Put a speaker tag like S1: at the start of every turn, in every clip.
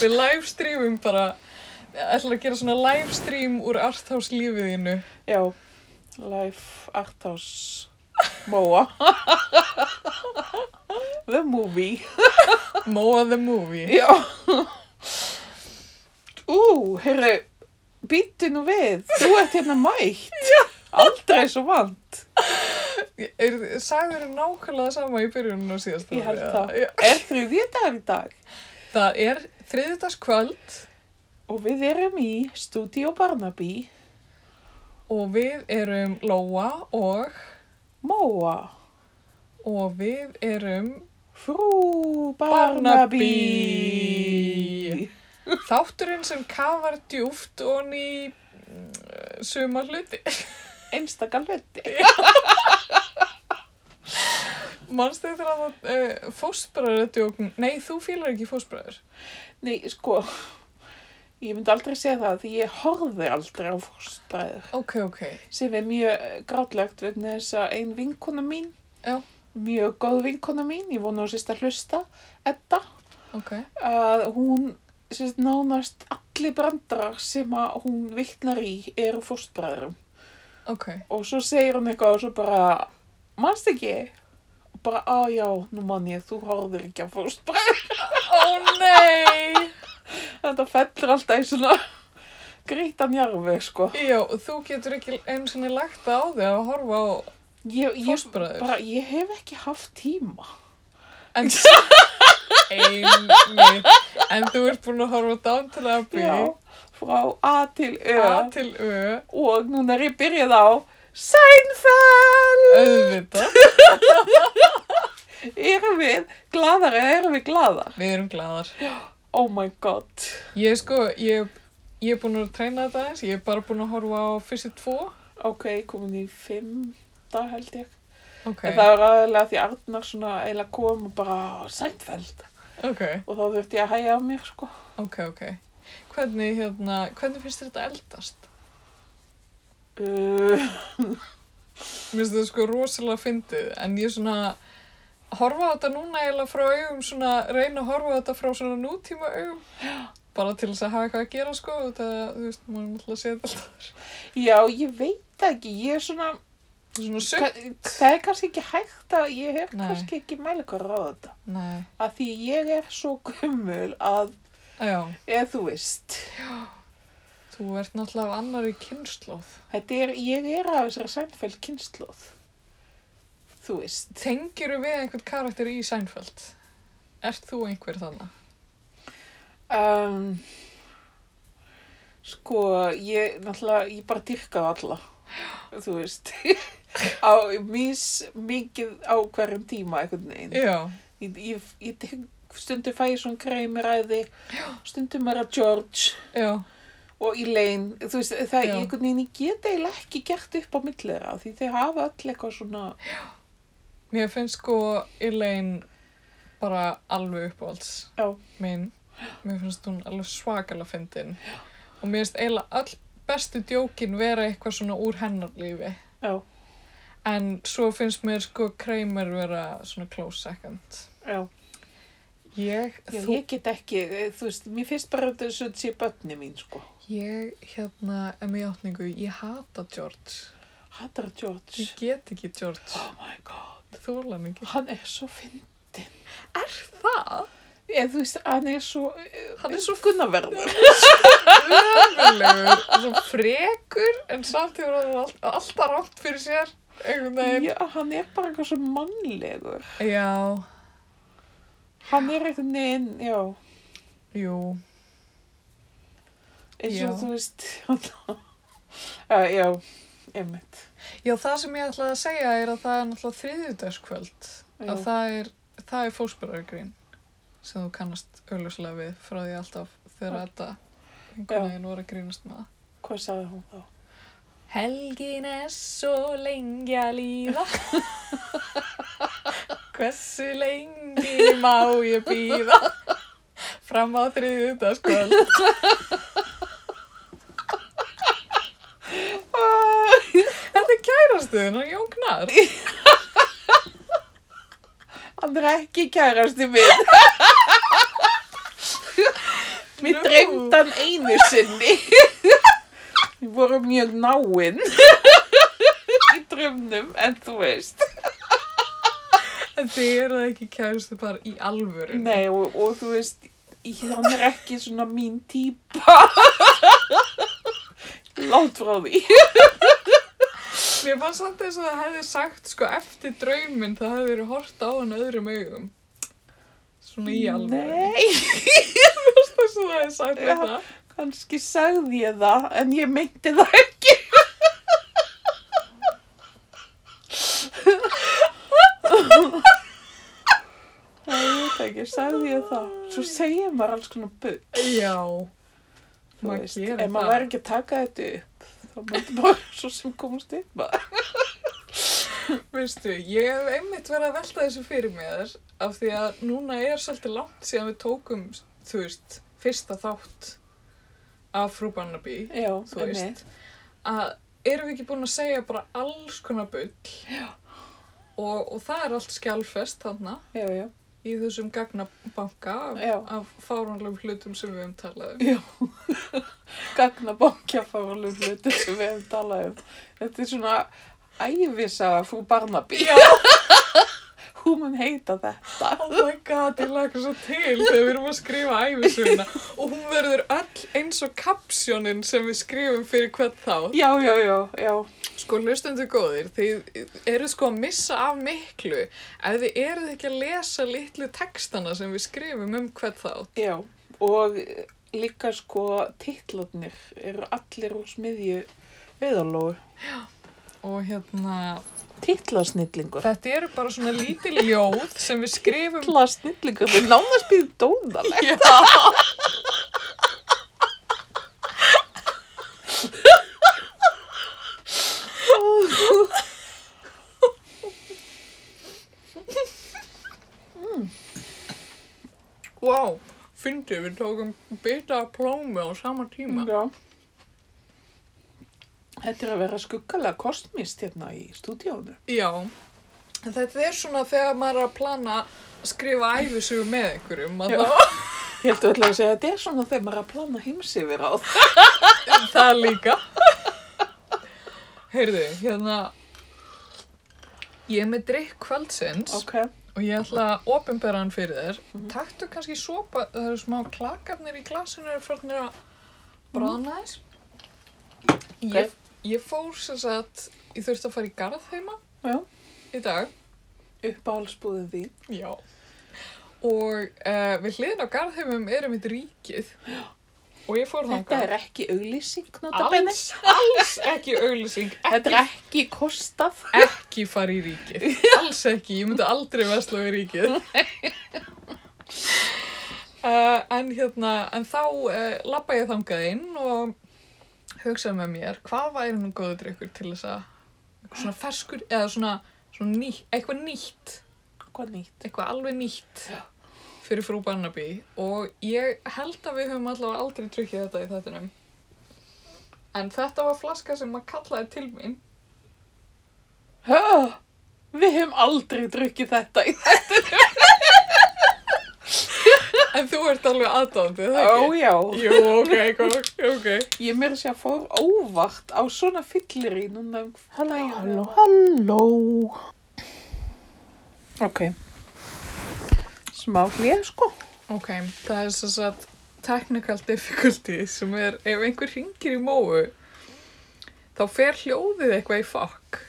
S1: Við livestreamum bara, ætlar að gera svona livestream úr arthouse lífið þínu.
S2: Já, Life Arthouse Móa The Movie
S1: Moa the movie.
S2: Já Ú, heyrðu, býttu nú við, þú ert hérna mætt Aldrei svo vant
S1: Er, sagður þér nákvæmlega það sama í byrjunum og síðast?
S2: Ég held það
S1: Já.
S2: Er þriðja dagar í dag
S1: Það er þriðudagskvöld
S2: Og við erum í Studio Barnaby
S1: og við erum Lóa og,
S2: Móa
S1: og við erum
S2: Frú Barnaby
S1: Barnaby. þátturinn sem kafar djúft og ný mm, suma hluti.
S2: Einstaka hluti
S1: Manstu þegar að það uh, fóstbræður er djókn? Nei, þú fýlar ekki fóstbræður.
S2: Nei, sko, ég myndi aldrei segja það því ég horfði aldrei á fórstbræður
S1: Ok, ok.
S2: sem er mjög eh, grátlegt vegna þess að ein vinkona mín,
S1: Já.
S2: mjög góð vinkona mín, ég vona á sérst að hlusta, Edda,
S1: Ok.
S2: að hún sérst nánast allir brandarar sem að hún vittnar í eru fórstbræðurum
S1: Ok,
S2: og svo segir hún eitthvað og svo bara, manst ekki? Og bara, á já, nú man ég, þú horfðir ekki á fórstbræður.
S1: ó nei,
S2: Þetta fellur alltaf í svona grítan jarfið, sko.
S1: já, þú getur ekki eins og lagt það á þig að horfa á
S2: Ég, ég,
S1: fóstbræður,
S2: bara, ég hef ekki haft tíma.
S1: en einmitt, en þú ert búin að horfa dán til að byrja
S2: Já, frá A til Ö
S1: A til Ö,
S2: og núna er ég byrjað á Seinfeld!
S1: auðvitað,
S2: Erum við gladar eða erum við gladar?
S1: við erum gladar.
S2: Oh my god.
S1: Ég sko, ég, ég er búin að treyna þetta eins, ég er bara búin að horfa á fyrstu tvo,
S2: Ok, komin í fimm dag held ég.
S1: ok,
S2: En það var aðalega því Arnar svona eiginlega kom og bara Seinfeld
S1: ok,
S2: og þá þurfti ég að hæja á mér sko.
S1: ok, ok. Hvernig, hérna, hvernig finnst þér þetta eldast?
S2: Uh,
S1: Mér finnst þetta sko rosalega fyndið, en ég svona horfa á þetta núna eiginlega frá augum, svona reyna að horfa á þetta frá svona nútíma augum, bara til þess að hafa eitthvað að gera sko, þetta, þú veist, maður er náttúrulega að setja alltaf þar.
S2: já, ég veit það ekki. Ég er svona,
S1: Svona sökk.
S2: það er kannski ekki hægt að ég hef
S1: Nei.
S2: kannski ekki mæli hvað ráða þetta.
S1: Nei,
S2: að því ég er svo gummul að,
S1: já,
S2: eða þú veist,
S1: þú ert náttúrulega af annari kynnslóð.
S2: þetta er, ég er af þessari sænfæld kynnslóð, þú veist.
S1: Tengiru við einhvern karakter í Seinfeld? Ert þú einhver þannig?
S2: Um, sko, ég, náttúrulega, ég bara dyrka á alla, þú veist, á mís mikið á hverjum tíma einhvern veginn.
S1: Já,
S2: Ég, ég, ég dyrk, stundum fæ ég svona kreimuræði, stundum er að George
S1: já,
S2: og Elaine, þú veist, það er
S1: Já.
S2: einhvern veginn, ég get eiginlega ekki gert upp á milli þeirra því þeir hafa öll eitthvað svona,
S1: mér finnst sko Elaine bara alveg uppáhalds.
S2: já,
S1: minn, mér finnst hún alveg svakalega fyndin og mér finnst eiginlega all bestu djókin vera eitthvað svona úr hennar lífi
S2: já,
S1: en svo finnst mér sko Kramer vera svona close second
S2: já,
S1: ég,
S2: já
S1: þú,
S2: ég get ekki, eh, þú veist, mér finnst bara þetta svo að sé börni mín, sko.
S1: ég hérna, em í átningu, ég hata George
S2: Hattar George,
S1: ég get ekki George,
S2: oh my god,
S1: þólan ekki
S2: hann er svo fyndin,
S1: er það?
S2: eða þú veist, hann er svo, eh,
S1: Hann er svo
S2: gunnaverður,
S1: ömulegur, svo frekur en samt hefur hann all, alltaf rátt fyrir sér einhvern veginn
S2: já, hann er bara eitthvað svo mannlegur,
S1: já,
S2: hann er einhvern veginn, já,
S1: jú,
S2: eins
S1: Já.
S2: og þú veist, uh, já, einmitt,
S1: Já, það sem ég ætlaði að segja er að það er náttúrulega þriðjudagskvöld
S2: já,
S1: að það er, það er fósbyrjargrín sem þú kannast auðvitað við frá því alltaf þegar
S2: Já.
S1: þetta einhvern
S2: Já.
S1: veginn voru að grínast með það
S2: hvað sagði hún þá?
S1: Helgin er svo lengi að líða Hversu lengi má ég býða fram á þriðjudagskvöld
S2: Ah!
S1: Þetta er kærastuðin og jóknar
S2: Hann er ekki kærasti minn. drauminni. Við vorum mjög náinn í draumnum, en þú veist.
S1: En þið eru það ekki kæristu bara í alvöru.
S2: Nei, og, og þú veist, ég- hann er ekki svona mín típa. Látt frá því.
S1: Mér fannst samt þess að það hefði sagt sko eftir drauminn það hefði verið hort á hann öðrum augum. Svona í alvöru.
S2: Nei,
S1: Mér fannst þess að það hefði sagt
S2: Já.
S1: þetta.
S2: kannski sagði ég það, en ég meinti það ekki. Það ég veit ekki, sagði ég það. Svo segir maður alls konar bull.
S1: Já.
S2: Þú
S1: Maður
S2: veist,
S1: gerir
S2: ef maður
S1: það.
S2: væri ekki að taka þetta upp, þá myndi maður svo sem komast upp að.
S1: Veistu, ég hef einmitt verið að velta þessu fyrir mér af því að núna er svolítið langt síðan við tókum, þú veist, fyrsta þátt af frú Barnaby.
S2: Já,
S1: þú veist, að erum við ekki búin að segja bara alls konar bull og, og það er allt skjálfest þarna
S2: Já, já.
S1: í þessum gagnabanka
S2: Já.
S1: af, af fáránlegum hlutum sem við höfum talað um.
S2: Já. Gagna bankjafáralum hluti sem við hefum talað um. Þetta er svona ævisaga frú Barnaby.
S1: Já,
S2: Hún mun heita þetta.
S1: oh my god, ég laka svo til þegar við erum að skrifa æfisuguna og hún verður öll eins og kapsjónin sem við skrifum fyrir hvern þá.
S2: Já, já, já, já.
S1: Sko, hlustundu góðir, þið eru sko að missa af miklu ef þið eruð ekki að lesa litlu textana sem við skrifum um hvern þá.
S2: Já. Og líka sko titlarnir eru allir úr smiðju viðalógu.
S1: Og hérna,
S2: Titlarsnillingur.
S1: Þetta eru bara svona lítil ljóð sem við skrifum.
S2: Titlarsnillingur, þau nánast býðu dóðaleg.
S1: Vá, wow, fyndi, við tókum bita af plómi á sama tíma.
S2: Já. Þetta er að vera skuggalega kostmist hérna í stúdíónu.
S1: Já, en þetta er svona þegar maður er að plana að skrifa æfisugu með einhverjum. að
S2: Já.
S1: Það,
S2: Ég held að ætla að segja að þetta er svona þegar maður er að plana heimsifir á það.
S1: það líka. Heyrðu, hérna, ég er með drikk kvöldsins
S2: Ok.
S1: og ég ætla að opinbera hann fyrir þér.
S2: Mhm.
S1: Taktu kannski sopa, það eru smá klakarnir í glasinu er farnir að
S2: Mhm.
S1: bráðna þess. Ég, ég fór sem sagt, ég þurfti að fara í garð heima
S2: Já.
S1: í dag.
S2: Uppáhaldsbúðin þín.
S1: Já. Og uh, við hliðin á garðheimum erum við ríkið. Og ég fór
S2: Þetta
S1: þangað.
S2: er ekki auglýsing, notabene.
S1: alls, alls ekki auglýsing,
S2: Þetta
S1: ekki,
S2: er ekki kostað.
S1: ekki fara í ríkið. Alls ekki, ég myndi aldrei vesla við ríkið. Uh, en hérna, en þá uh, labba ég þangað inn og hugsaði með mér, hvað væri nú góður drikkur til þess að eitthvað svona ferskur, eða svona, svona ný, eitthvað nýtt
S2: Hvað nýtt?
S1: eitthvað alveg nýtt fyrir frú Barnaby og ég held að við höfum allavega aldrei drukkið þetta í þettinum. En þetta var flaska sem maður kallaði til mín.
S2: Hö? Við hefum aldrei drukkið þetta í þetta.
S1: En þú ert alveg aðdándið, það
S2: Ó
S1: ekki?
S2: já.
S1: Jú, ok, ok, ok.
S2: Ég meira sér að fór óvart á svona fyllir í núna. um- Halló,
S1: Halló.
S2: Halló. Ok. Smá hlýð, sko.
S1: Ok, það er svo að technical difficulty sem er ef einhver hringir í móu þá fer hljóðið eitthvað í fokk.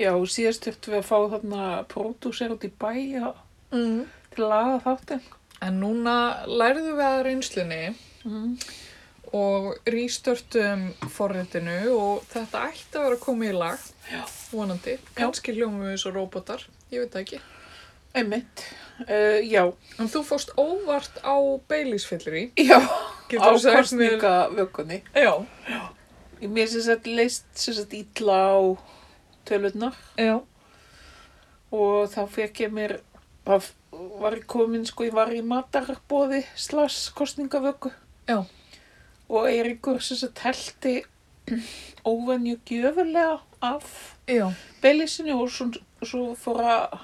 S2: Já, og síðast þurftum við að fá þarna pródúsir út í bæ og-
S1: Mm.
S2: til að laga þáttinn.
S1: En núna lærðu við að reynslunni
S2: Mm.
S1: og rýstörtum forritinu og þetta ætti að vera komið í lag, vonandi. Kanski hljómum við svo róbotar, ég veit það ekki.
S2: Einmitt. Uh, já,
S1: En þú fórst óvart á Baileysfyllir í.
S2: já, á
S1: Getur þú sagt mér...
S2: kostningavökunni.
S1: Já,
S2: Ég mér sem sagt leist sem sagt ítla á tölurnar
S1: já,
S2: og þá fekk ég mér, bara f- var ég komin sko, ég var í matarbóði slags kostningavöku.
S1: Já.
S2: Og Eiríkur sem sagt heldi óvenju gjöfulega af
S1: já,
S2: Beilisinu og svo, svo fór að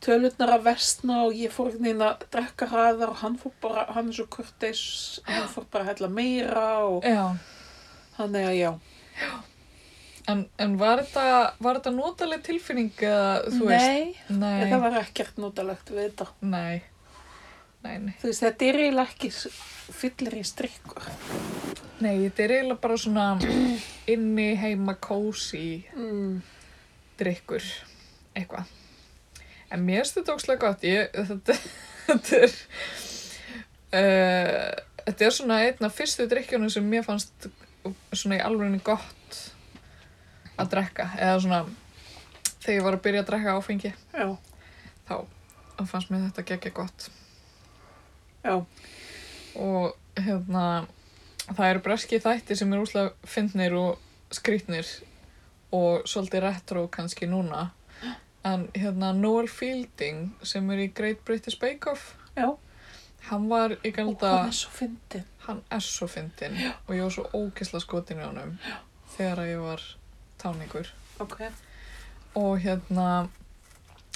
S2: tölurnar að versna og ég fór einhvern veginn að drekka hraðar og hann fór bara, hann er svo kurteis, hann fór bara að hella meira og
S1: Já,
S2: þannig að já.
S1: en, en var þetta, var þetta notaleg tilfinning eða þú veist?
S2: Nei,
S1: Nei,
S2: það var ekkert notalegt við þetta.
S1: nei, nei, nei.
S2: Þú veist, þetta er eiginlega ekki fyllir í strikkur.
S1: Nei, þetta er eiginlega bara svona inni heima kósi
S2: Mm.
S1: drikkur, eitthvað. En mér finnst þetta ókslega gott. Ég, þetta, þetta er... Uh, þetta er svona einn af fyrstu drikkjónum sem mér fannst svona í alvegni gott að drekka. Eða svona þegar ég var að byrja að drekka áfengi,
S2: Já,
S1: þá þá fannst mér þetta geggja gott.
S2: já,
S1: Og hérna, það eru breski þætti sem eru úslega fyndnir og skrýtnir og svolítið retro kannski núna. En hérna, Noel Fielding sem er í Great British Bake Off,
S2: já.
S1: hann var í
S2: Og
S1: galda...
S2: hann er svo fyndin.
S1: hann er svo fyndinn og ég var svo ógisla skotin í honum þegar ég var táningur
S2: Ok.
S1: og hérna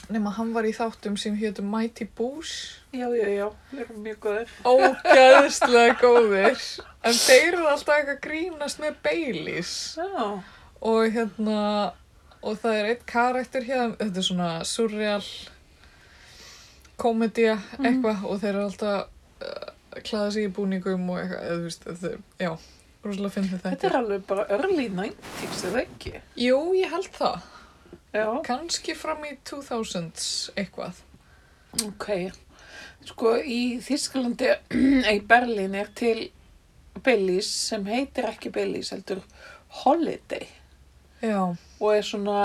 S1: nema hann var í þáttum sem hétu Mighty Boos
S2: Já, já, já, við erum mjög góðir.
S1: ógeðslega góðir en þeir eru alltaf eitthvað að grínast með Baileys
S2: Já,
S1: og hérna og það er einn karakter hérna þetta er svona surreal komedía eitthvað og þeir eru alltaf uh, klæða sig í búningum og eitthvað, eða þú veist, þetta er, já rosalega fyndið þetta
S2: þetta er alveg bara early 90s, eða ekki?
S1: Jú, ég held það.
S2: Já,
S1: Kanski fram í 2000s eitthvað.
S2: ok. Sko, í Þísklandi, í Berlín er til Baileys sem heitir ekki Baileys, heldur Holiday.
S1: Já.
S2: Og er svona,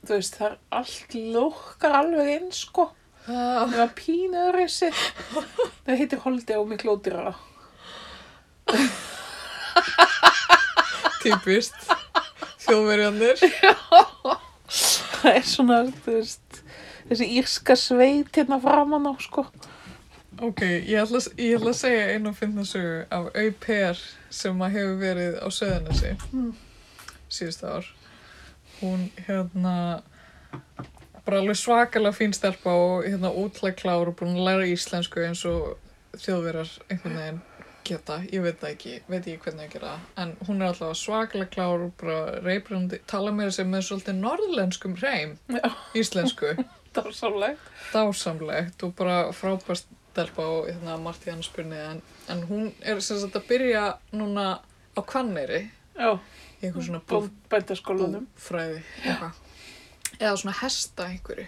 S2: þú veist, það er allt lókar alveg eins, sko.
S1: Uh,
S2: Það var pínuður þessi. Það heitir Holiday og miklu ódýrara.
S1: Typist. Þjóðverjanir.
S2: Það er svona, þú veist, þessi írska sveit hérna framan á, sko.
S1: Ok, ég ætla, að- ég ætla að segja einu og finna sögu af auper sem að hefur verið á söðanessi
S2: Mm.
S1: síðust ár. Hún hérna bara alveg svakalega fín stelpa og hérna útlægklár og búin að læra íslensku eins og þjóðverjar einhvern veginn geta, ég veit það ekki, veit ekki hvernig að gera það. en hún er alltaf svakalega klár og bara reybrandi, tala meira sem með svolítið norðlenskum reym
S2: Já.
S1: íslensku
S2: Það var sálega.
S1: dásamlegt og bara frábært stelpa og hérna Marti Hanspunni en, en hún er sem sagt að byrja núna á Hvanneyri
S2: Já,
S1: í einhver svona bú,
S2: bændaskólanum.
S1: búfræði eitthvað. eða svona hesta einhverju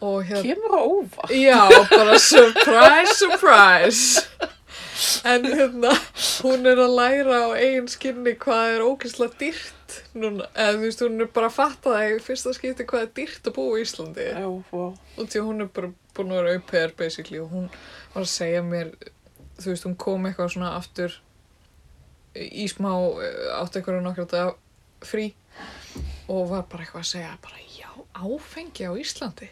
S1: og hérna
S2: Kemur á óva.
S1: Já, bara surprise, surprise. En hérna, hún er að læra á eigin skinni hvað er ógeðslega dýrt núna. Eða þú veist, hún er bara að fatta það í fyrsta skipti hvað er dýrt að búa í Íslandi.
S2: Já, vá.
S1: og því að hún er bara búin að vera auper basically og hún var að segja mér þú veist, hún kom eitthvað svona aftur í smá eh, átti eitthvað nokkra þetta frí og var bara eitthvað að segja bara já, áfengi á Íslandi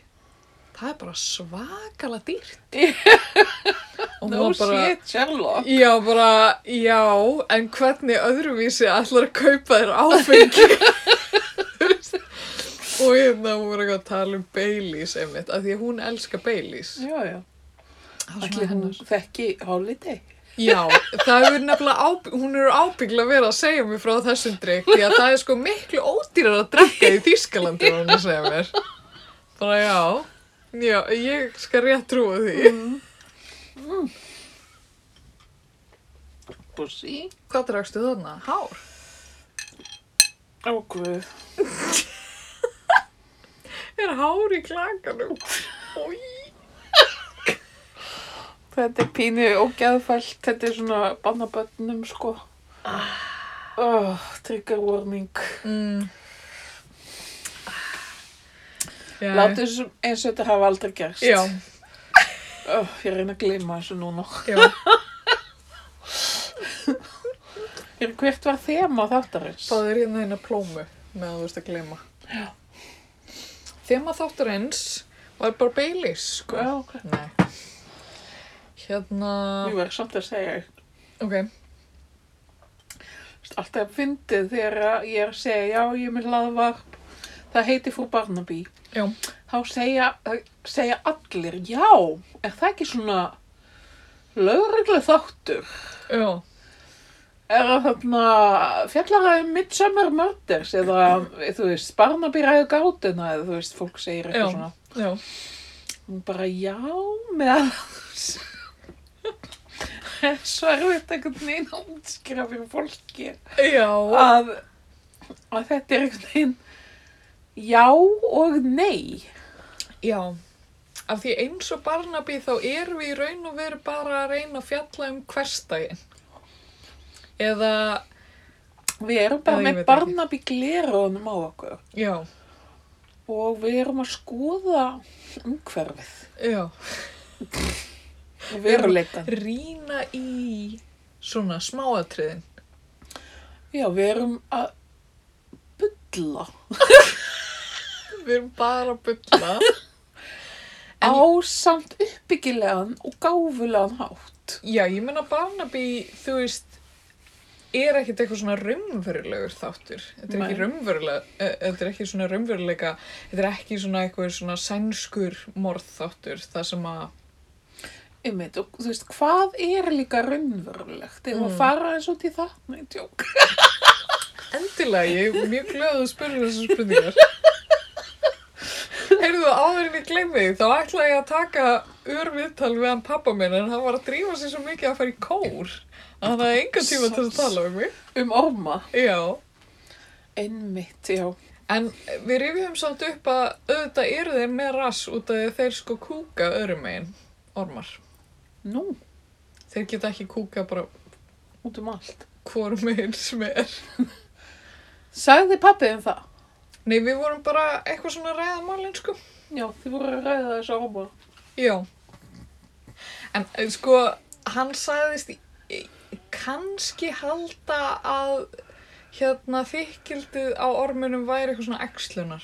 S1: það er bara svakala dýrt og hún
S2: No
S1: var bara
S2: shit, Sherlock.
S1: já, bara, já en hvernig öðruvísi ætlar að kaupa þér áfengi Þú veist. og hérna hún var eitthvað að tala um Baileys einmitt, af því að hún elskar Baileys
S2: Já, já.
S1: Það var svona
S2: Ætli hún
S1: hennar.
S2: þekki Holiday.
S1: Já, það hefur nefnilega, áp, hún er ábyggla verið að segja mér frá þessum drikk því að það er sko miklu ódýrar að drekka í Þýskalandi var hún að segja mér. Bara já, já, ég skal rétt trúa því.
S2: Bussi.
S1: Hvað drakstu þarna? Hár?
S2: Ó, guð.
S1: Er hár í klakanum? Új.
S2: Þetta er pínu ógeðfælt. Þetta er svona bannabönnum, sko. Oh, trigger warning.
S1: Mm. Já,
S2: Láttu þessu eins og þetta hafa aldrei gerst.
S1: Já,
S2: Ó, ég reyna að gleyma þessu núna.
S1: já.
S2: Er, hvert var þema þáttarins?
S1: Það er hérna eina plómu meðan þú veist að gleyma. Já. Þema þáttur eins var bara Baileys, sko.
S2: Já, ok.
S1: Nei. Hérna,
S2: Ég verði samt að segja, þú
S1: ok,
S2: veist, alltaf fyndið þegar að ég er að segja, já, ég er með hlaðvarp. Það heiti frú Barnaby.
S1: Já.
S2: þá segja, segja allir, já, er það ekki svona lögreglu þáttur?
S1: Já.
S2: Er það þarna fjallaræði Midsummer Murders eða, þú veist, Barnaby ræðu gátina eða, þú veist, fólk segir eitthvað
S1: Já.
S2: svona.
S1: Já.
S2: Hún bara, já, meðal annars. Það er svo erfitt einhvern veginn að útskýra fyrir fólki
S1: Já.
S2: að, að þetta er einhvern veginn já og nei.
S1: Já. Af því eins og Barnaby þá erum við í raun og veru bara að reyna að fjalla um hverstaginn. Eða,
S2: Við erum bara
S1: Já, ég
S2: með
S1: veit ekki.
S2: Barnaby glerónum á okkur
S1: já,
S2: og við erum að skoða umhverfið,
S1: já,
S2: veruleikan.
S1: rýna í svona smáatriðin.
S2: Já, við erum að bulla
S1: Við erum bara að bylla. En-
S2: á samt uppbyggilegan og gáfulegan hátt.
S1: Já, ég meina Barnaby, þú veist, er ekkert eitthvað svona raunverulegur þáttur. Þetta er, ekki
S2: Nei.
S1: raunverulega, eh, þetta er ekki svona raunveruleika, þetta er ekki svona eitthvað svona sænskur morðþáttur, það sem að,
S2: Einmitt, og þú veist, hvað er líka raunverulegt? Ef að
S1: Mm.
S2: fara eins út í það? Nei, tjók.
S1: endilega, ég er mjög glöð að spyrja þessar spurningar. Heyrðu, áður en ég glemmi því, þá ætla ég að taka örviðtal við hann pappa minn, en hann var að drífa sig svo mikið að fara í kór, að það er enga tíma til að tala um mig.
S2: Um orma.
S1: Já.
S2: Einmitt, já.
S1: En við rifjum samt upp að auðvitað eru þeir með rass út af því að þeir sko kúka öðrum megin, ormar.
S2: Nú,
S1: Þeir geta ekki kúka bara
S2: út um allt.
S1: hvorum megin sem er.
S2: Sagði pappið um það?
S1: Nei, við vorum bara eitthvað svona ræðamálinn sko.
S2: Já, þið voru að ræða þessu orma.
S1: Já. En eh, sko, hann sagðist í- í- kannski halda að hérna þykkildið á ormunum væri eitthvað svona ekslunar.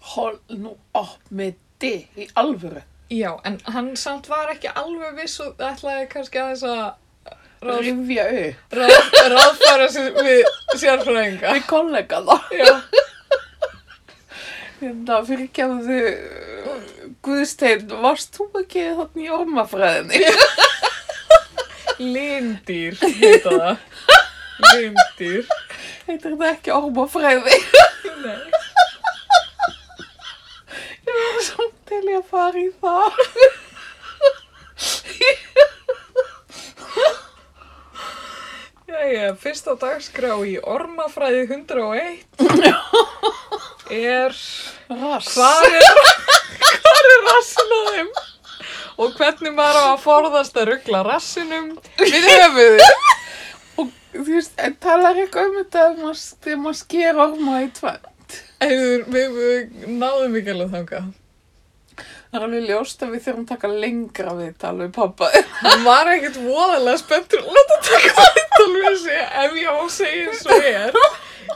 S2: Hol, nú, op með þið í alvöru.
S1: Já, en hann samt var ekki alveg viss og ætlaði kannski aðeins að ráð
S2: Rifja upp.
S1: ráð, ráðfæra sig við sérfræðinga.
S2: Við kollega það.
S1: Já,
S2: Hérna, fyrirgefðu, uh, Guðstein, varst þú ekki þarna í ormafræðinni?
S1: lindýr, heita það. Lindýr.
S2: Heitir þetta ekki ormafræði?
S1: Nei.
S2: Ég var samt til ég að fara í það.
S1: Jæja, fyrsta dagskrá í Ormafræði 101 er...
S2: Rass.
S1: Hvar er, hvar er rassin á þeim? Og hvernig maður á að forðast að ruggla rassinum við höfuðu?
S2: Og þú veist, en talar eitthvað um þetta ef maður- þegar maður sker orma í tvönd.
S1: Eður, við, við náðum ekki alveg þangað.
S2: Það er alveg ljóst að við þurfum að taka lengra við tala við pappa.
S1: Hann var ekkert voðalega spenntur Láta taka það í tólvísi Ef ég á að segja eins og er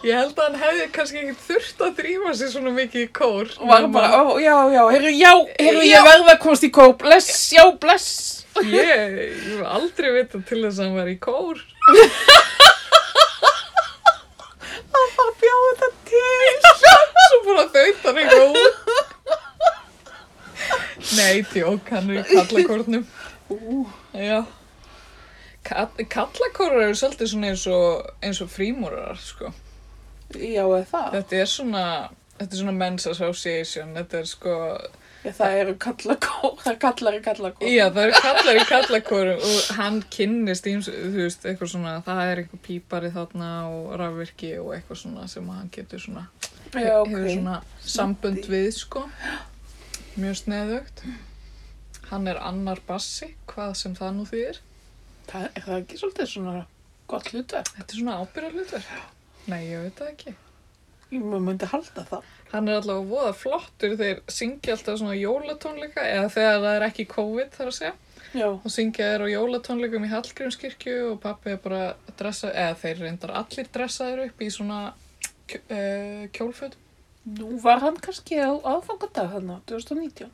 S1: Ég held að hann hefði kannski ekkert þurft að drífa sig svona mikið í kór
S2: Og var bara, ó, já, já, heyrðu, já, heyrðu, ég
S1: Já.
S2: verða að komast í kór, bless, já, bless.
S1: Ég, ég hef aldrei vitað til þess að hann var í kór
S2: Það var að bjóða þetta til.
S1: Svo bara þaut hann eitthvað út Nei, tjók, hann er í kallakórnum
S2: Ú,
S1: Já Kall- Kallakórar eru svolítið svona eins og, eins og frímúrarar, sko
S2: já, eða það.
S1: Þetta er svona, þetta er svona men's association, þetta er sko
S2: Ég, það eru kallakór, það er kallar í kallakór.
S1: Já, það eru kallar í kallakórum og hann kynnist í, þú veist, eitthvað svona, það er eitthvað pípari þarna og rafvirki og eitthvað svona sem hann getur svona,
S2: já ok.
S1: hefur svona sambönd við, sko, mjög sneðugt. Hann er annar bassi, hvað sem það nú þýðir.
S2: Það er það ekki svolítið svona gott hluta.
S1: Þetta er svona ábyrðarlutur. Nei, ég veit það ekki.
S2: Ég myndi halda það.
S1: Hann er allavega voða flottur þeir syngja alltaf svona jólatónleika eða þegar það er ekki COVID þar að segja.
S2: Já.
S1: og syngja þér á jólatónleikum í Hallgrímskirkju og pappi er bara dressa, eða þeir reyndar allir dressaðir upp í svona kj- eh, kjólföt
S2: Nú var hann kannski á aðfangadag hann á 2019.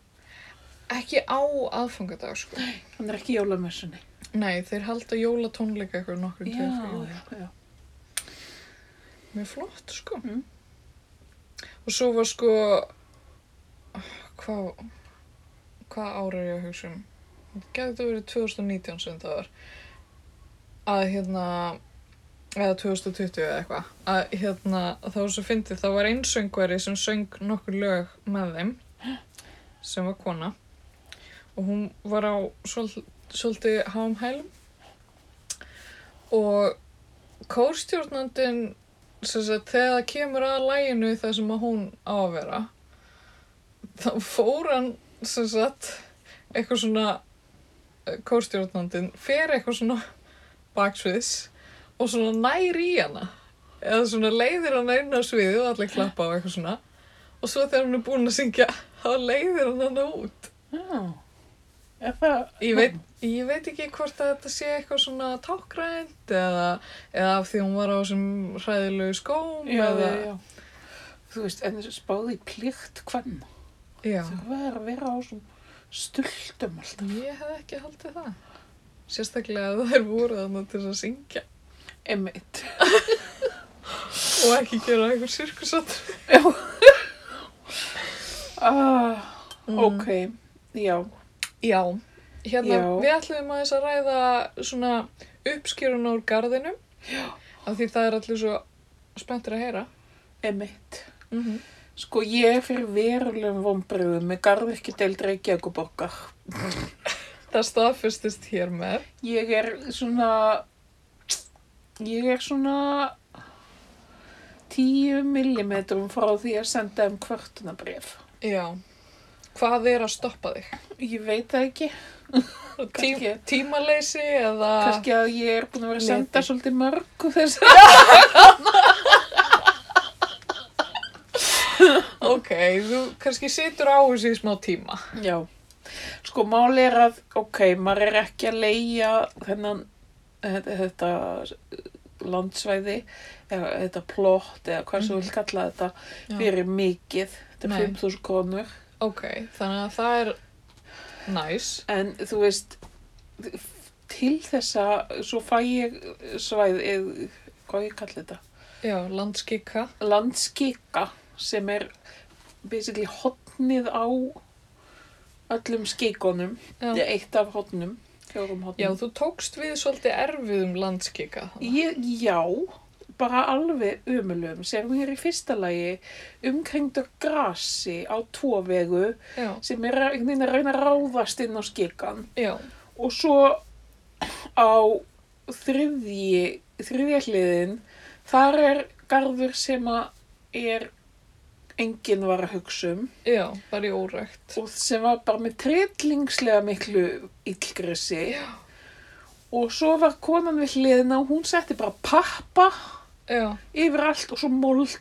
S1: ekki á aðfangadag sko
S2: Hann er ekki í jólamessunni.
S1: nei, þeir halda jólatónleika eitthvað nokkur
S2: já.
S1: mjög flott sko
S2: Mm.
S1: og svo var sko hvað hva ára er ég að hugsa um? Gæti þetta verið 2019 sem það var að hérna eða 2020 eða eitthvað að hérna þá var svo fyndið þá var einn söngveri sem söng nokkur lög með þeim sem var kona og hún var á svol- svolítið háum hælum og kórstjórnandinn sem sagt, þegar það kemur að læginu þar sem að hún á að vera þá fór hann sem sagt eitthvað svona eh, kórstjórnandinn fer eitthvað svona baksviðs og svona nær í hana eða svona leiðir hana inn á sviðið og allir klappa á eitthvað svona og svo þegar hún er búin að syngja þá leiðir hann hana út
S2: Já. Er það...
S1: ég veit, ég veit ekki hvort að þetta sé eitthvað svona tákgrænt eða, eða af því hún var á þessum hræðilegu skóm
S2: Já,
S1: eða,
S2: já, já. Þú veist, en þessu spáði í plíkt hvern.
S1: já.
S2: Þau var að vera á þessum stultum alltaf.
S1: ég hef ekki haldið það sérstaklega að þær voru þannig til þess að syngja
S2: Emmitt.
S1: og ekki gera einhver sirkusatt
S2: Já. Ah, Ok, já.
S1: Já, hérna
S2: Já.
S1: við ætlum aðeins að ræða svona uppskýrun úr garðinu af því það er allir svo spenntir að heyra
S2: Emmitt.
S1: mm -hmm.
S2: Sko, ég er fyrir verulegum vombriðum með garðirki deild Reykjavíkuborgar.
S1: Það staðfestist hér með
S2: Ég er svona, ég er svona tíu millimetrum frá því að senda um kvörtunabrif.
S1: Já, hvað er að stoppa þig?
S2: Ég veit það ekki.
S1: Tí,
S2: Kannski-
S1: tímaleysi eða
S2: Kannski að ég er búin að vera að senda
S1: Neti.
S2: svolítið mörg og þess
S1: Ok, þú kannski situr á þessu í smá tíma
S2: Já, sko máli er að, ok, maður er ekki að leia þennan, þetta þetta uh, landsvæði, eða þetta plott eða hvað sem þú vil kalla þetta,
S1: Mhm. Já.
S2: fyrir mikið, þetta
S1: Nei.
S2: er 5.000 konur,
S1: Ok, þannig að það er næs
S2: en þú veist, til þessa, svo fæ ég svæði, hvað ég kalla þetta,
S1: Já, landskika
S2: landskika sem er basically hotnið á öllum skikonum,
S1: Já.
S2: eða eitt af hotnum, fjórum hotnum.
S1: Já, þú tókst við svolítið erfiðum landskika
S2: Ég, já, bara alveg umulum sem er í fyrsta lagi umkringdur grasi á tvo vegu
S1: Já,
S2: sem er að- einhvern veginn að reyna að ráðast inn á skikan
S1: já,
S2: og svo á þriðji, þriðja hliðin þar er garður sem að er enginn var að hugsa um
S1: já, bara í órækt
S2: og sem var bara með trillingslega miklu illgresi og svo var konan við hliðina og hún setti bara pappa
S1: Já,
S2: yfir allt og svo mold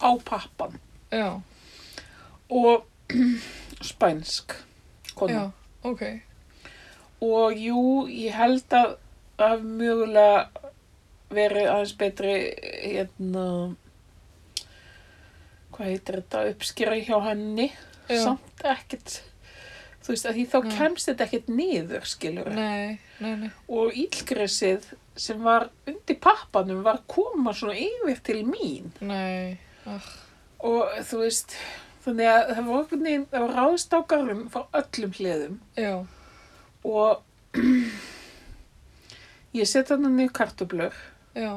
S2: á pappan
S1: já,
S2: og spænsk konu
S1: já, ok,
S2: og jú, ég held að það hafi mögulega verið aðeins betri hérna hvað heitir þetta, uppskýra hjá henni
S1: Já.
S2: samt ekkert þú veist að því þá
S1: Nei.
S2: kemst þetta ekkert niður skilur
S1: nei, nei, nei,
S2: og ílgresið sem var undir pappanum var að koma svona yfir til mín
S1: nei, ach,
S2: og þú veist þannig að það var einhvern veginn það var ráðist á garðum frá öllum hliðum
S1: já,
S2: og ég seti hann niður kartöblur
S1: já,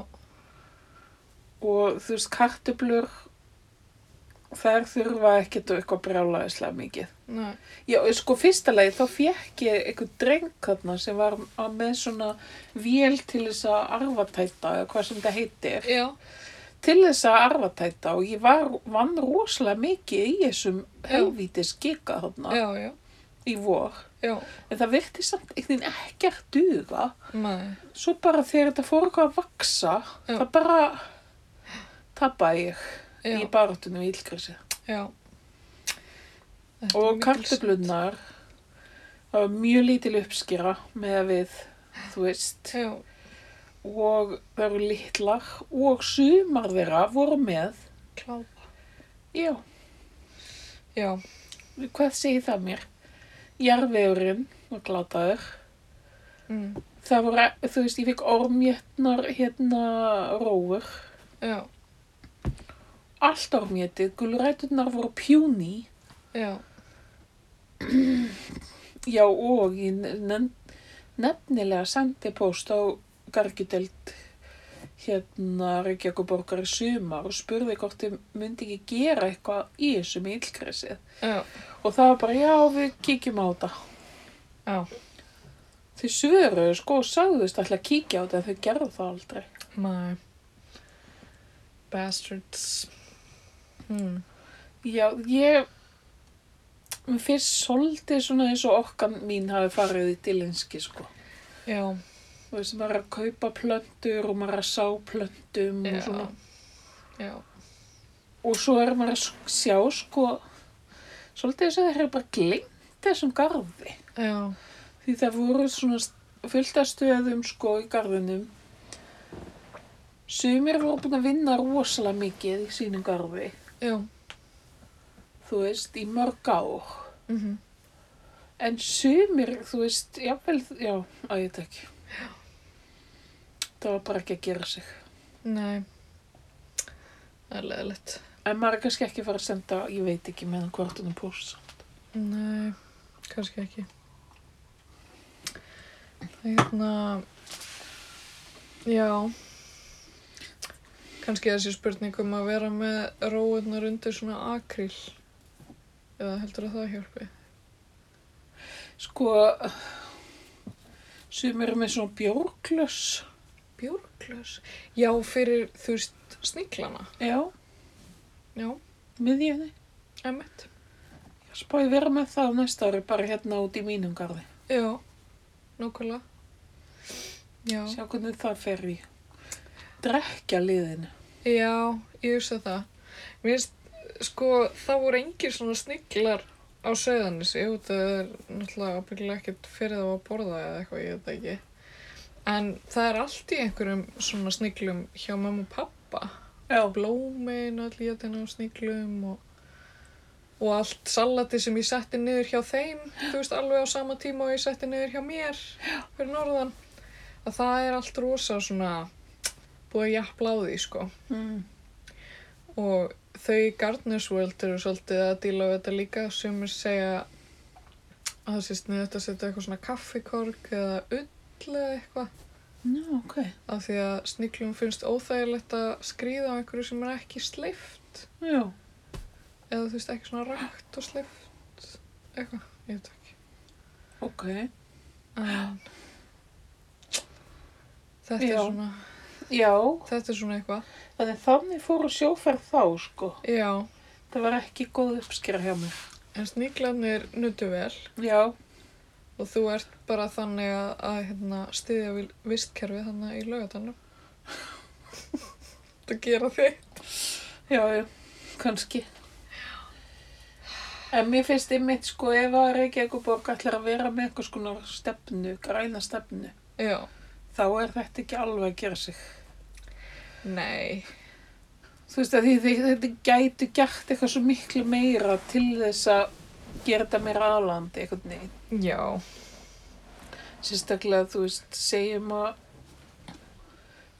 S2: og þú veist kartöblur þær þurfa ekkert og eitthvað brjálaðislega mikið
S1: nei,
S2: já, og sko fyrsta leið þá fekk ég eitthvað dreng þarna sem var á- með svona vél til þess að arfatæta eða hvað sem þetta heitir
S1: já,
S2: til þess að arfatæta og ég var, vann rosalega mikið í þessum helvítis gika þarna
S1: já, já,
S2: í vor
S1: já,
S2: en það virti samt einhvern veginn ekkert duga
S1: nei,
S2: svo bara þegar þetta fór eitthvað að vaksa
S1: Já.
S2: það bara tappaði ég í
S1: já,
S2: baráttunum í illgrisi
S1: já. Þetta er
S2: og
S1: mikil
S2: kartöflunar það var mjög lítil uppskýra með að við þú
S1: synd.
S2: veist
S1: Já,
S2: og það eru litlar og sumar þeirra voru með
S1: klápa,
S2: já,
S1: já,
S2: hvað segir það mér? Jarvegurinn var glataður
S1: mm,
S2: það voru, þú veist, ég fikk ormjötnar hérna rófur
S1: já,
S2: allt ormjötið, gulræturnar voru pjúni
S1: já,
S2: Já, og ég nefn- nefnilega sendi póst á gargjudeld hérna Reykjavíkuborgar í sumar og spurði hvort þið myndi ekki gera eitthvað í þessu með illgresið.
S1: já,
S2: Og það var bara, já, við kíkjum á þetta.
S1: já,
S2: Þau svöruðu sko og sagðust alltaf að kíkja á þetta en þau gerðu það aldrei.
S1: my bastards. Hmm.
S2: Já, ég, mér finnst svolítið svona eins og okkan mín hafi farið í dilinski sko.
S1: Já,
S2: Þú veist, maður er að kaupa plöntur og maður er að sá plöntum
S1: já,
S2: og svona.
S1: já,
S2: Og svo er maður að sk- sjá sko, svolítið þess að þeir eru bara gleymt þessum garði.
S1: já,
S2: Því það voru svona st- fullt af stöðum sko í garðinum. Sumir voru búin að vinna rosalega mikið í sínum garði,
S1: já,
S2: þú veist, í mörg ár.
S1: mhm,
S2: En sumir, þú veist, jáfnvel, já, að ég veit ekki. Það var bara ekki að gera sig.
S1: nei, það er leðilegt,
S2: En maður er kannski ekki að fara að senda, ég veit ekki meðan kvartunum púls.
S1: nei, kannski ekki. Hérna, já, kannski þessi spurning um að vera með róurnar undir svona akríl, eða heldur að það hjálpi?
S2: Sko, sumir eru með svona bjórglöss.
S1: Björglös? Já, fyrir, þú veist, sníklana,
S2: Já,
S1: já,
S2: miðjæði.
S1: emmett,
S2: Ég spáði vera með það á næsta ári, bara hérna út í mínum garði.
S1: já, nákvæmlega, já.
S2: Sjá hvernig það fer í. Drekja liðinu.
S1: Já, ég hugsa það. Mér finnst, sko, það voru engir svona sniglar á söðanis. Ég veit að það er náttúrulega ábyggilega ekkert fyrir þá að borða eða eitthvað, ég veit það ekki. En það er allt í einhverjum svona sniglum hjá mamma og pappa.
S2: Já,
S1: Blómin, öll jötina á sniglum og, og allt salati sem ég setti niður hjá þeim, þú veist, alveg á sama tíma og ég setti niður hjá mér fyrir norðan. Að það er allt rosa svona búið að jafnla á því, sko
S2: mm.
S1: og þau í Gardeners World eru svolítið að díla við þetta líka sem er segja að það sést niður þetta að setja eitthvað svona kaffikorg eða ull eða eitthvað
S2: já, ok.
S1: af því að sniglum finnst óþægilegt að skríða á einhverju sem er ekki sleift
S2: Já,
S1: eða þú veist ekki svona rakt og sleift eitthvað, ég veit ekki
S2: ok.
S1: en þetta er
S2: Já.
S1: svona
S2: Já,
S1: þetta er svona eitthvað
S2: þannig þannig fóru sjóferð þá, sko.
S1: já,
S2: Það var ekki góð uppskera hjá mér.
S1: en sniglarnir nutu vel
S2: Já,
S1: Og þú ert bara þannig að, að hérna, styðja við vistkerfið þannig í laugatannum. Þetta gera þig.
S2: já, já, kannski. En mér finnst einmitt sko ef að Reykjavíkuborg ætlar að vera með eitthvað skona stefnu, græna stefnu,
S1: Já.
S2: þá er þetta ekki alveg að gera sig.
S1: Nei.
S2: Þú veist að því, því þetta gætu gert eitthvað svo miklu meira til þess að gera þetta meira aðlandi eitthvað neitt.
S1: Já.
S2: Sérstaklega þú veist, segjum að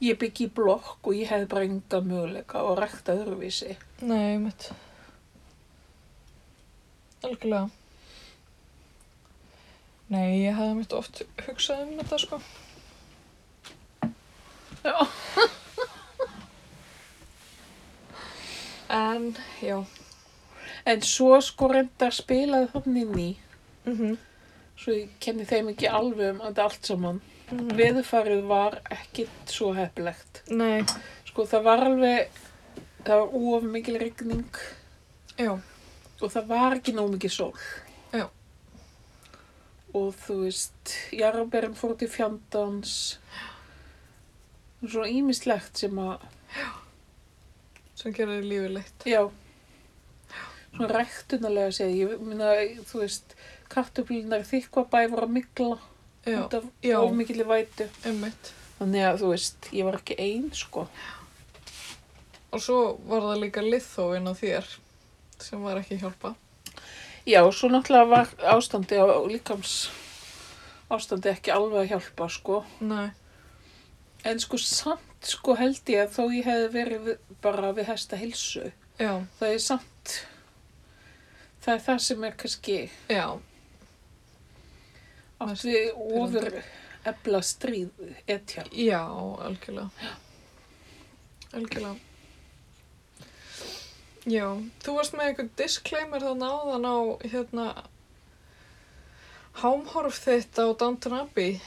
S2: ég byggi í blokk og ég hefði bara enga möguleika og rekta öðruvísi.
S1: Nei, mitt. Algjörlega. Nei, ég hafði mitt oft hugsað um þetta, sko.
S2: Já.
S1: En, já.
S2: En svo sko reynda að spila þannig ný.
S1: Mm -hmm.
S2: svo ég kenni þeim ekki alveg um þetta allt saman.
S1: Mhm.
S2: Veðurfarið var ekkit svo heppilegt.
S1: Nei.
S2: Sko það var alveg, það var of mikil rigning
S1: Já.
S2: og það var ekki nóg mikil sól.
S1: Já.
S2: Og þú veist, jarðberinn fór út í fjandans. Og Svo ímislegt sem að,
S1: Sem geraði lífið leitt.
S2: já, svona rektunarlega séð. Ég minna, þú veist, kartublinar þykvabæ voru að mikla
S1: Já.
S2: út af
S1: Já.
S2: of mikilli vætu.
S1: Einmitt.
S2: Þannig að þú veist, ég var ekki ein sko.
S1: Og svo var það líka liðþófin á þér sem var ekki að hjálpa.
S2: Já, svo náttúrulega var ástandi á líkams ástandi ekki alveg að hjálpa sko.
S1: Nei.
S2: En sko samt sko held ég að þó ég hefði verið við, bara við hesta hilsu
S1: Já,
S2: það er samt það er það sem er kannski
S1: Já,
S2: átt við ofur ebla stríð etja.
S1: já, algjörlega. Algjörlega. Já, þú varst með einhvern disclaimer þá náðan á, hérna, hámhorf þitt á Downton Abbey